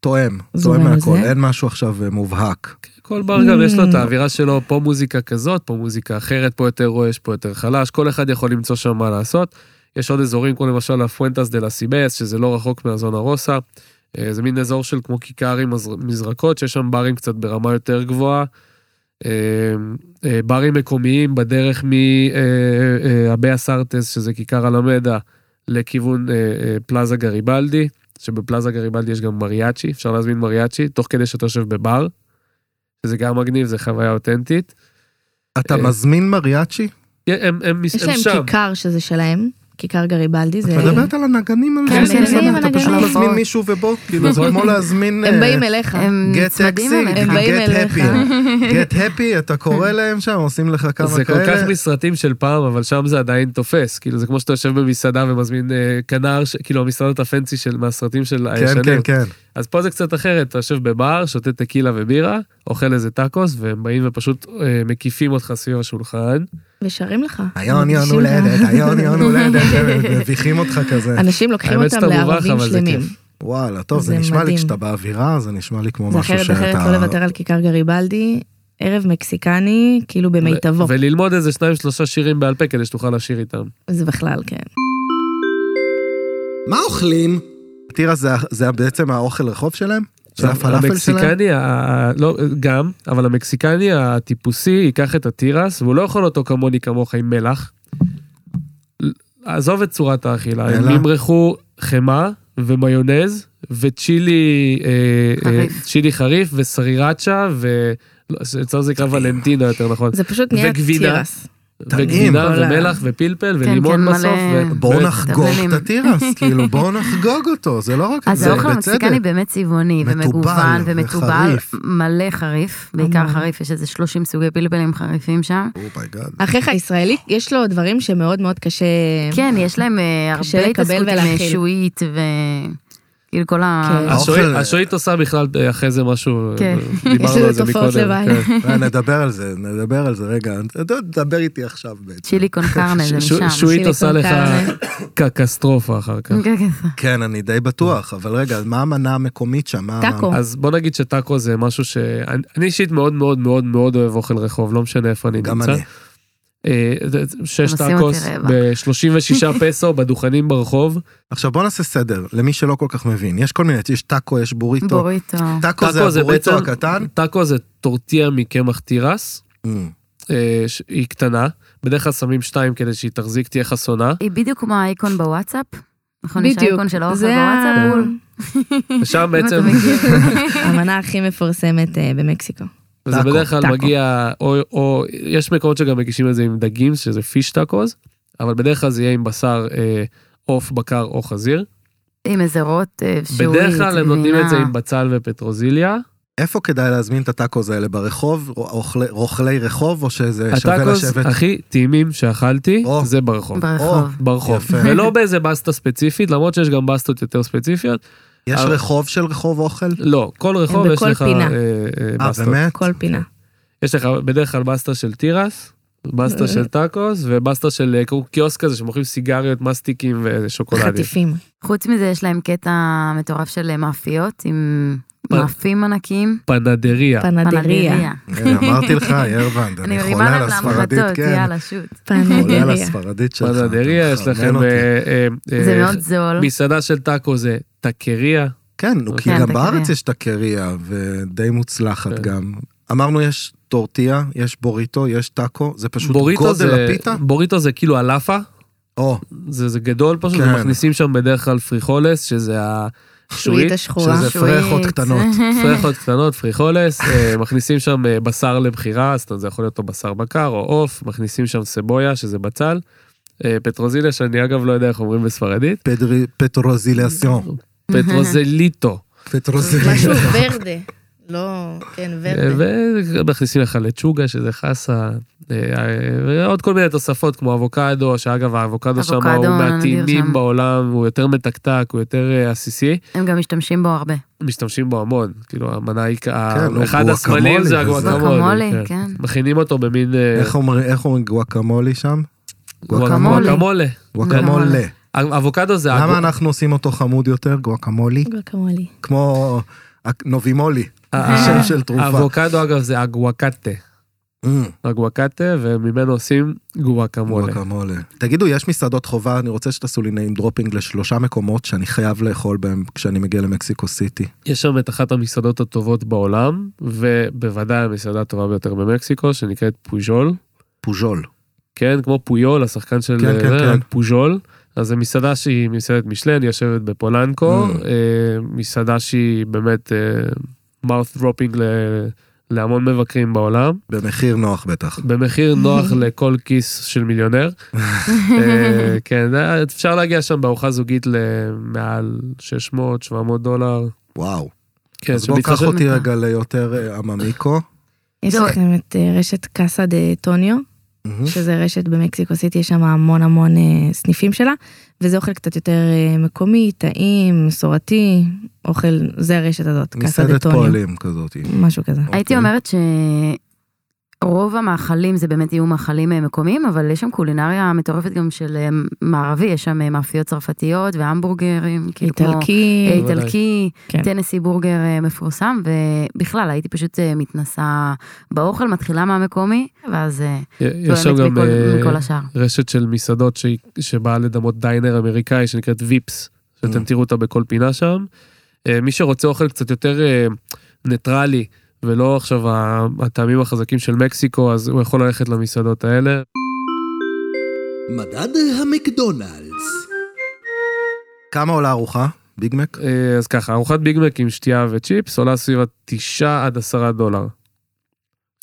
A: תואם,
B: זורם
A: תואם
B: על
A: מהכל,
B: זה?
A: אין משהו עכשיו אה, מובהק.
E: כל בר גם יש לו את האווירה שלו, פה מוזיקה כזאת, פה מוזיקה אחרת, פה יותר רועש, פה יותר חלש, כל אחד יכול למצוא שם מה לעשות. יש עוד אזורים, כמו למשל הפואנטס דה לה סיבס, שזה לא רחוק מהזונה רוסה. אה, זה מין אזור של כמו כיכר עם מזר- מזרקות, שיש שם ברים קצת ברמה יותר גבוהה. אה, אה, ברים מקומיים בדרך אה, מהביה אה, סרטס, שזה כיכר הלמדה, לכיוון אה, אה, פלאזה גריבלדי, שבפלאזה גריבלדי יש גם מריאצ'י, אפשר להזמין מריאצ'י, תוך כדי שאתה יושב בבר. שזה גם מגניב, זה חוויה אותנטית.
A: אתה
E: אה,
A: מזמין מריאצ'י?
E: הם, הם, הם,
B: יש
E: הם
B: להם
E: שם.
B: כיכר שזה שלהם, כיכר גריבלדי,
A: את
B: זה...
A: מדברת על הנגנים האלה?
C: כן,
A: שאני
C: הנגנים,
A: מסתדר, אתה פשוט
C: הנגנים.
A: מזמין מישהו ובוא, נכון. כאילו זה
E: נכון.
A: כמו להזמין...
B: הם באים אליך.
C: הם
A: גט
C: נצמדים
A: טקסי, כאילו,
C: אליך.
B: כן. הם באים
A: גט
B: אליך.
A: הפי, גט הפי, אתה קורא להם שם, עושים לך כמה כאלה.
E: זה כל כך מסרטים של פעם, אבל שם זה עדיין תופס. כאילו, זה כמו שאתה יושב במסעדה ומזמין אה, כנר, ש... כאילו, המסעדות הפנסי של מהסרטים של
A: כן,
E: הישנים.
A: כן, כן.
E: אז פה זה קצת אחרת, אתה יושב בבר, שותה טקילה ובירה, אוכל איזה טאקוס, והם באים ופשוט אה, מקיפים אותך סביב השולחן.
B: ושרים לך.
A: היום אה, יום
B: מרגישים
A: הולדת,
B: לך.
A: היום יום הולדת, הם מביכים אותך כזה.
B: אנשים לוקחים
E: האמת
B: אותם
E: שאתה מובך,
B: לערבים
E: אבל זה
B: שלמים.
E: כיף.
A: וואלה, טוב, זה
B: זה
A: נשמע לי
B: מדהים.
A: כשאתה באווירה, זה נשמע לי כמו
B: זה
A: משהו
B: אחרת,
A: שאתה...
B: אחרת לא לוותר על כיכר גריבלדי, ערב מקסיקני, כאילו במיטבו.
E: ו- וללמוד איזה שניים, שלושה שירים בעל פה כדי שתוכל לשיר איתם.
B: זה בכלל, כן.
D: מה אוכלים?
A: טירה זה- זה בעצם האוכל רחוב שלהם? זה הפלאפל שלהם?
E: המקסיקני, ה- ה- לא, גם, אבל המקסיקני הטיפוסי ייקח את התירס, והוא לא יכול אותו כמוני כמוך עם מלח. עזוב את צורת האכילה, הם
A: אלא?
E: ימרחו חמאה ומיונז וצ'ילי אה, אה,
C: חריף.
E: צ'ילי חריף וסרירצ'ה ו... לא, אצלנו זה נקרא ולנטינה יותר נכון.
B: זה פשוט נהיה
E: וגבינה.
B: תירס.
A: טעים.
E: וגבינה
B: כל ה-
E: ומלח ופלפל
C: כן,
E: ולימון
C: כן,
E: בסוף.
C: מלא-
E: ו-
A: בואו
E: ו-
A: נחגוג את התירס, כאילו, בואו נחגוג אותו, זה לא רק...
C: אז
A: זה,
C: האוכל
A: בצדק.
C: המקסיקני באמת צבעוני
A: מתובל
C: ומגוון ומתובל,
A: וחריף.
C: מלא חריף, בעיקר
B: המון.
C: חריף, יש איזה 30 סוגי פלפלים חריפים שם.
A: אומייגאד.
B: אחיך הישראלי, יש לו דברים שמאוד מאוד קשה...
C: כן, יש להם אה,
B: קשה
C: הרבה
B: לקבל
C: התעסקות עם
B: ולהכיל.
C: שועית ו... כאילו כל ה...
B: כן.
E: השועית-
A: האוכל-
E: השועית עושה בכלל אה, אחרי זה משהו, אה,
C: כן.
B: יש
E: דיברנו
B: לזה
E: על זה
B: תופעות
E: מקודם.
B: לוואי.
E: כן.
A: אה, נדבר על זה, נדבר על זה רגע. אתה תדבר איתי עכשיו בעצם.
C: צ'ילי קון
B: כן,
C: קרנה זה
E: ש-
C: משם.
E: שועית
B: שיליקון
E: עושה לך
B: קרנה.
E: קטסטרופה אחר כך.
C: כן, כן.
A: כן, אני די בטוח, אבל רגע, מה המנה המקומית שם? מה-
B: טאקו.
C: לא.
E: אז בוא נגיד שטאקו זה משהו שאני אני אישית מאוד מאוד מאוד מאוד אוהב אוכל רחוב, לא משנה איפה אני
A: גם
E: נמצא.
A: אני.
E: אה, זה- זה- שש
C: אתם עושים אותי
E: טאקוס
C: רעבה.
E: ב-36 פסו בדוכנים ברחוב.
A: עכשיו בוא נעשה סדר, למי שלא כל כך מבין. יש כל מיני, יש טאקו, יש בוריטו.
C: בוריטו.
A: טאקו זה
E: טאקו זה
A: הבוריטו
E: בעצם- Mm.
A: הקטן.
E: טאקו זה טורטיה מקמח תירס,
A: אמ,
E: אה, ש- היא קטנה, בדרך כלל שמים שתיים כדי שהיא תחזיק, תהיה חסונה.
C: היא בדיוק כמו האייקון בוואטסאפ. נכון, יש
B: בדיוק.
C: האייקון של האוכל
B: זה
C: בוואטסאפ.
B: ה-
C: בול.
E: ושם
C: אם אתה
E: בעצם,
C: מכיר.
B: המנה הכי מפורסמת אה, במקסיקו.
E: וזה
A: טאקו,
E: בדרך כלל
B: טאקו.
E: מגיע, או- או יש מקומות שגם מגישים את זה עם דגים, שזה פיש טאקוז, אבל בדרך כלל זה יהיה עם בשר אה, עוף, בקר או חזיר.
C: עם איזה רוט, אה, שועית,
E: בדרך כלל הם נותנים
C: גבינה.
E: את זה עם בצל ופטרוזיליה.
A: איפה כדאי להזמין את הטאקוס האלה? ברחוב? אוכלי- רוכלי רחוב? או שזה שווה
E: הטאקוס
A: לשבת?
E: הכי טעימים שאכלתי
A: או.
E: זה ברחוב.
A: או,
C: ברחוב.
E: ברחוב.
A: יפה.
E: ולא באיזה בסטה ספציפית, למרות שיש גם בסטות יותר ספציפיות.
A: יש
E: אבל-
A: רחוב של רחוב אוכל?
E: לא, כל רחוב יש
B: בכל
E: לך
B: פינה.
E: אה, אה,
A: אה,
E: בסטות.
A: באמת?
B: כל פינה.
E: יש לך בדרך כלל בסטה של תירס, בסטה
B: אה.
E: של טאקוס, ובסטה של אה, כמו קיוסק כזה שמוכרים סיגריות, מסטיקים ושוקולדים.
B: חטיפים.
C: חוץ מזה יש להם קטע מטורף של אה, מאפיות עם
E: פ-
C: מאפים ענקיים.
E: פנדריה.
A: אה.
B: פנדריה.
A: הנה, אמרתי לך, ירוונד, אני חולה על הספרדית,
C: להמחטות,
A: כן.
C: יאללה, שוט.
A: חולה על
B: פנדריה.
A: הספרדית שלך. אתה
E: פנדריה, יש
A: מחרמן
E: לכם...
A: אותי.
E: אה, אה,
C: זה
E: אה,
C: מאוד זול.
E: מסעדה של טאקו זה טקריה,
A: כן, נו, כי
C: כן,
A: גם
C: אתה
A: בארץ
C: קריה.
A: יש את הקריה, ודי מוצלחת
E: כן.
A: גם. אמרנו יש טורטיה, יש בוריטו, יש טאקו, זה פשוט
E: בוריטו
A: גודל
E: זה,
A: הפיתה.
E: בוריטו זה כאילו הלאפה,
A: או,
E: זה, זה גדול פשוט,
A: כן.
E: ומכניסים שם בדרך כלל פריחולס, שזה השורית,
B: שורית השחורה.
A: שזה פרחות קטנות.
E: פרחות קטנות, פריחולס, אה, מכניסים שם אה, בשר לבחירה, זאת אומרת זה יכול להיות או בשר בקר או עוף, מכניסים שם סבויה, שזה בצל, אה, פטרוזיליה, שאני אגב לא יודע איך אומרים בספרדית,
A: פדרי- פטרוזיליאסיון.
E: פטרוזליטו.
A: פטרוזיליאסיון.
B: משהו ורדה. לא, כן, ורדה.
E: ומכניסים לך לצ'וגה, שזה חסה, אה, אה, ועוד כל מיני תוספות כמו אבוקדו, שאגב האבוקדו שם
C: אבוקדו,
E: הוא
C: נדיר
E: מהטעימים
C: שם. בעולם.
E: בעולם, הוא יותר מתקתק, הוא יותר אה, עסיסי,
C: הם גם משתמשים בו הרבה.
E: משתמשים בו המון, כאילו המנה היא, ה-
A: כן, הוא
E: אחד
A: גואקמולי
E: הסמלים זה
A: וזה.
E: הגואקמולי,
C: גואקמולי,
E: כן.
C: כן.
E: מכינים אותו במין אה,
A: איך אומרים- איך אומרים גואקמולי שם?
C: גואקמולי.
E: גואקמולה.
A: גואקמולה.
E: אבוקדו לא, זה
A: למה
E: הגו-
A: אנחנו עושים אותו חמוד יותר? גואקמולי?
B: גואקמולי.
A: כמו הק- נובימולי, Mm,
E: אה,
A: שם של תרופה.
E: האבוקדו אגב זה אגוואקטה,
A: אמ,
E: אגוואקטה וממנו עושים גואקמולה.
A: גואקמולה. תגידו, יש מסעדות חובה, אני רוצה שתעשו לי name dropping לשלושה מקומות שאני חייב לאכול בהם כשאני מגיע למקסיקו סיטי.
E: יש שם את אחת המסעדות הטובות בעולם, ובוודאי המסעדה הטובה ביותר במקסיקו, שנקראת פוז'ול.
A: פוז'ול.
E: כן, כמו פויול, השחקן של
A: כן, כן,
E: אה,
A: כן.
E: פוז'ול. אז זו מסעדה שהיא מסעדת משלן, היא יושבת בפולנקו,
A: Mm.
E: אה, מסעדה שהיא באמת mouth dropping ל- להמון מבקרים בעולם,
A: במחיר נוח בטח.
E: במחיר נוח לכל כיס של מיליונר. אה, כן, אה, אפשר להגיע שם בארוחה זוגית למעל 600-700 דולר.
A: וואו.
E: כן,
A: אז בוא קח
E: שמתחשב-
A: אותי רגע ליותר אה, עממיקו.
B: יש
C: זהו.
B: לכם את אה, רשת קאסה דה טוניו,
A: מהמם.
B: שזה רשת במקסיקו סיטי, יש שם המון המון אה, סניפים שלה, וזה אוכל קצת יותר אה, מקומי, טעים, מסורתי, אוכל, זה הרשת הזאת, קאסה דה
A: מסעדת
B: טוניו,
A: פועלים כזאת.
B: משהו כזה.
A: אוקיי.
C: הייתי אומרת שרוב המאכלים זה באמת יהיו מאכלים אה, מקומיים, אבל יש שם קולינריה מטורפת גם של אה, מערבי, יש שם אה, מאפיות צרפתיות והמבורגרים, כאילו כמו-
B: איטלקי,
C: אה, איטלקי,
B: כן.
C: טנסי בורגר אה, מפורסם, ובכלל הייתי פשוט אה, מתנסה באוכל, מתחילה מהמקומי, ואז אה,
E: יש שם
C: תואמת
E: גם
C: מכל-
E: אה,
C: מכל השאר.
E: רשת של מסעדות שהיא- שבאה לדמות דיינר אמריקאי שנקראת ויפס, שאתם
A: Mm.
E: תראו אותה בכל פינה שם. אה, מי שרוצה אוכל קצת יותר אה, ניטרלי, ולא עכשיו ה- הטעמים החזקים של מקסיקו, אז הוא יכול ללכת למסעדות האלה.
D: מדד המקדונלדס
A: כמה עולה ארוחה? ביג מק?
E: אה, אז ככה, ארוחת ביגמק עם שתייה וצ'יפס עולה סביב ה-9 עד 10 דולר.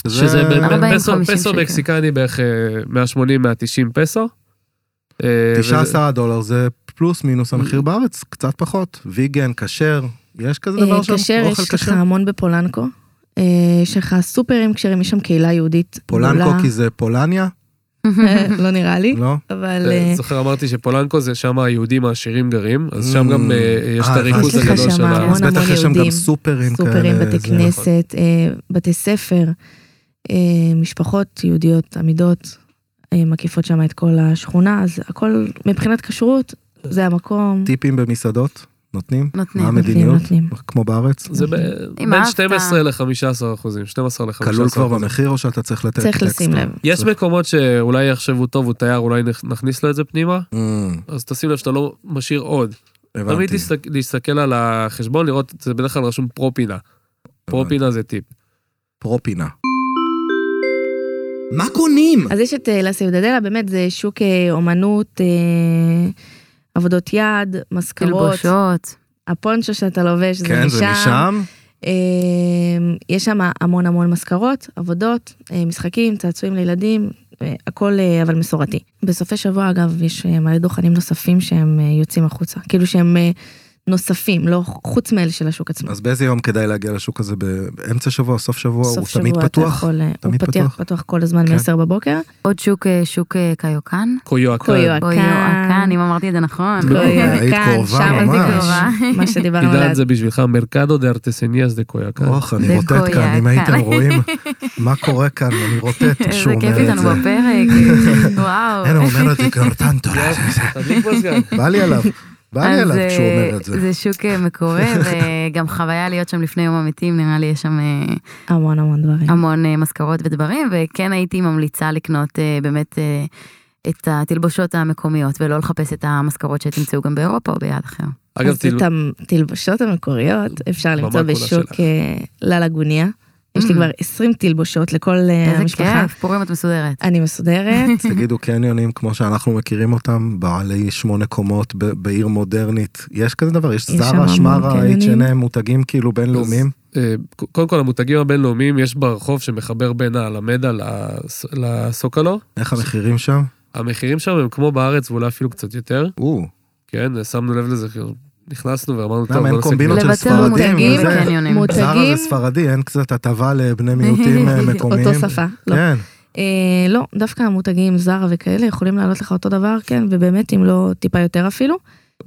E: שזה ב- ב-
C: 40-50
E: פסו- פסו
C: שקל.
E: מקסיקני בערך אה, 180-190 פסו. אה, וזה-
A: 19 דולר זה פלוס מינוס המחיר בארץ, קצת פחות. ויגן, כשר, יש כזה דבר
B: אה,
A: שם?
B: כשר,
A: אוכל
B: יש לך המון בפולנקו, אה, יש לך סופרים כשרים, יש שם קהילה יהודית.
A: פולנקו
B: גדולה.
A: כי זה פולניה?
B: אה, לא נראה לי,
A: לא?
B: אבל...
E: אה,
B: אה,
E: זוכר אמרתי שפולנקו זה שם היהודים העשירים גרים, אז שם גם
A: Mm.
E: אה, יש את
A: אה, יש
E: הריכוז
A: לך
E: הגדול
A: שם
E: של ה...
B: המון
A: אז בטח יש שם גם
B: יהודים.
A: סופרים כאלה.
B: סופרים, בתי
A: זה- נכון.
B: כנסת, אה, בתי ספר, אה, משפחות יהודיות עמידות, אה, מקיפות שם את כל השכונה, אז הכל מבחינת כשרות, זה המקום.
A: טיפים במסעדות? נותנים?
C: נותנים.
A: מה
B: נותנים,
A: המדיניות?
B: נותנים.
A: כמו בארץ?
E: זה ב-
C: אם
E: בין
C: אהבת.
E: 12 ל-15 אחוזים, 12 ל-15 אחוזים.
A: כלול כבר במחיר או שאתה צריך לתת
B: צריך לשים
A: אקסטרה?
B: לב.
E: יש מקומות שאולי יחשבו טוב, הוא תייר, אולי נכ- נכניס לו את זה פנימה,
A: אמ,
E: אז תשים לב שאתה לא משאיר עוד. תמיד
A: הבנתי.
E: להסתק- להסתכל על החשבון, לראות, זה בדרך כלל רשום פרופינה. פרופינה זה טיפ.
A: פרופינה.
D: מה קונים?
B: אז יש את אה, לה סיודדלה, באמת זה שוק אה, אומנות, אה, עבודות יד,
A: כאילו
B: משכרות,
C: תלבושות.
B: הפונצ'ו שאתה לובש, זה משם.
A: כן, זה משם?
B: אה, יש שם המון המון מזכרות, עבודות, אה, משחקים, צעצועים לילדים, אה, הכל אה, אבל מסורתי. בסופי שבוע אגב יש אה, מלא דוכנים נוספים שהם אה, יוצאים החוצה, כאילו שהם אה, נוספים, לא חוץ מאלה של השוק עצמו.
A: אז באיזה יום כדאי להגיע לשוק הזה? באמצע שבוע, סוף שבוע? הוא
B: סוף
A: תמיד
B: שבוע אתה
A: פתוח?
B: יכול, אה, הוא
A: תמיד
B: פתוח,
A: פתוח?
B: פתוח כל הזמן
A: כן.
B: מ-10 בבוקר.
C: עוד שוק, אה, שוק אה, קיוקן.
E: קויואקן.
B: קויואקן.
C: או יואקן, אם אמרתי את זה נכון.
A: לא, היית
B: כאן,
A: קרובה
B: שם
A: ממש.
B: זה קרובה. אה, מה שדיברנו עליו.
E: עידן זה בשבילך מרקדו דה ארטסניאס דה קויואקן.
A: אוח, אני
C: זה
A: רוטט כאן, אם
C: קויה,
A: הייתם
C: כאן.
A: רואים מה קורה כאן, אני רוטט
C: איזה
A: כשהוא
C: כיף
A: אומר את
C: איתנו
A: זה.
C: בפרק. כאילו, וואו.
A: אין, הוא אומר את זה קרטנטורה.
E: תדליק מזגן.
A: בא לי עליו, בא לי
C: אז,
A: עליו כשהוא
C: אה,
A: אומר את זה.
C: זה שוק אה, מקורה, וגם חוויה להיות שם לפני יום המתים, נראה לי יש שם אה,
B: המון המון דברים.
C: המון אה, מזכרות ודברים, וכן הייתי ממליצה לקנות אה, באמת אה, את התלבושות המקומיות, ולא לחפש את המזכרות שתמצאו גם באירופה או ביד אחר.
E: אגב,
B: אז את התלבושות המקוריות אפשר למצוא
E: כולה
B: בשוק
E: שלך.
B: אה, ללגוניה. יש לי
C: Mm.
B: כבר 20 תלבושות לכל אה,
C: איזה
B: המשפחה.
C: כיף, כן, פורים את מסודרת.
B: אני מסודרת.
A: תגידו קניונים כמו שאנחנו מכירים אותם, בעלי שמונה קומות ב- בעיר מודרנית, יש כזה דבר? יש
B: יש שם
A: זרה,
B: המון
A: שמרה,
B: קניונים.
A: H&M, מותגים כאילו בינלאומיים?
E: אה, ק- קודם כל המותגים הבינלאומיים יש ברחוב שמחבר בין הלמדה לס- לסוקולו.
A: איך המחירים שם?
E: המחירים שם הם כמו בארץ ואולי אפילו קצת יותר,
A: או,
E: כן, שמנו לב לזה, כאילו, נכנסנו ואמרנו,
A: למה, אין
E: נעשה
A: קומבינות
E: קניות."
A: של
C: לוותר
A: ספרדים,
C: מותגים
A: וזה-
C: בקניונים.
B: מותגים.
A: זרה זה ספרדי, אין קצת הטבה לבני מיעוטים אה, מקומיים?
B: אותו שפה. לא.
A: כן,
B: אה, לא, דווקא המותגים זרה וכאלה יכולים לעלות לך אותו דבר, כן, ובאמת אם לא טיפה יותר אפילו.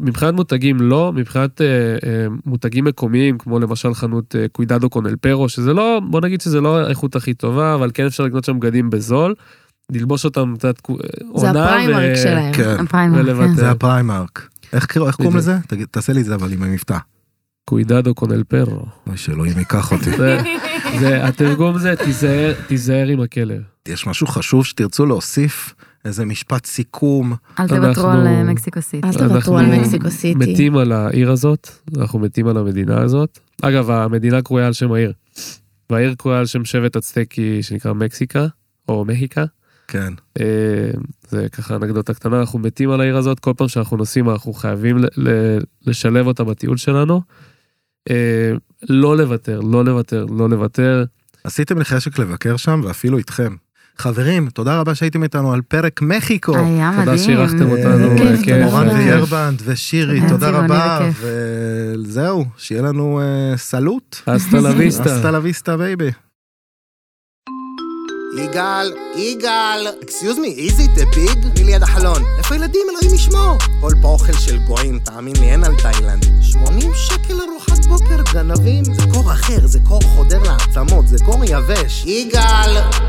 E: מבחינת מותגים לא, מבחינת אה, אה, מותגים מקומיים, כמו למשל חנות אה, קוידדו קונל פרו, שזה לא, בוא נגיד שזה לא האיכות הכי טובה, אבל כן אפשר לקנות שם בגדים בזול, ללבוש אותם, את יודעת, קו-
B: זה
E: עונה
B: הפריימרק
E: ו-
B: שלהם.
A: כן,
C: הפריימר,
E: ולבטל.
A: זה הפריימרק. איך קראו- איך קוראים
E: בדיוק.
A: לזה? תגיד, תעשה לי את זה אבל עם המבטא.
E: קוידדו קונל פרו.
A: אוי, שאלוהים ייקח אותי.
E: זה- זה- התרגום זה תיזהר, תיזהר עם הכלב.
A: יש משהו חשוב שתרצו להוסיף? איזה משפט סיכום?
C: אל תוותרו
E: אנחנו-
C: על אה, מקסיקו סיטי.
B: אל תוותרו
E: אנחנו
B: על מקסיקו סיטי.
E: מתים על העיר הזאת, אנחנו מתים על המדינה הזאת. אגב, המדינה קרויה על שם העיר. והעיר קרויה על שם שבט אצטקי שנקרא מקסיקה, או מהיקה.
A: כן.
E: אה, זה ככה אנקדוטה קטנה, אנחנו מתים על העיר הזאת, כל פעם שאנחנו נוסעים אנחנו חייבים ל- ל- לשלב אותה בטיול שלנו. אה, לא לוותר, לא לוותר, לא לוותר.
A: עשיתם לי חשק לבקר שם, ואפילו איתכם. חברים, תודה רבה שהייתם איתנו על פרק מקסיקו.
C: היה מדהים.
E: תודה שאירחתם אותנו,
B: אה, כיף, אה,
E: אה,
B: תודה
E: כן,
A: מורן
B: רבה.
E: אה, כיף.
A: וירבנד ושירי,
C: היה
A: תודה
C: צבעוני
A: רבה,
C: וכיף.
A: וזהו, שיהיה לנו אה, סלוט.
E: אסטה לה ויסטה.
A: אסטה לה ויסטה בייבי.
D: יגאל, יגאל, אקסיוז מי, איזי דה ביג? אני ליד החלון. איפה ילדים, אלוהים ישמור? כל פה אוכל של גויים, תאמין לי, אין על תאילנד. 80 שקל ארוחת בוקר, גנבים. זה קור אחר, זה קור חודר לעצמות, זה קור יבש. יגאל!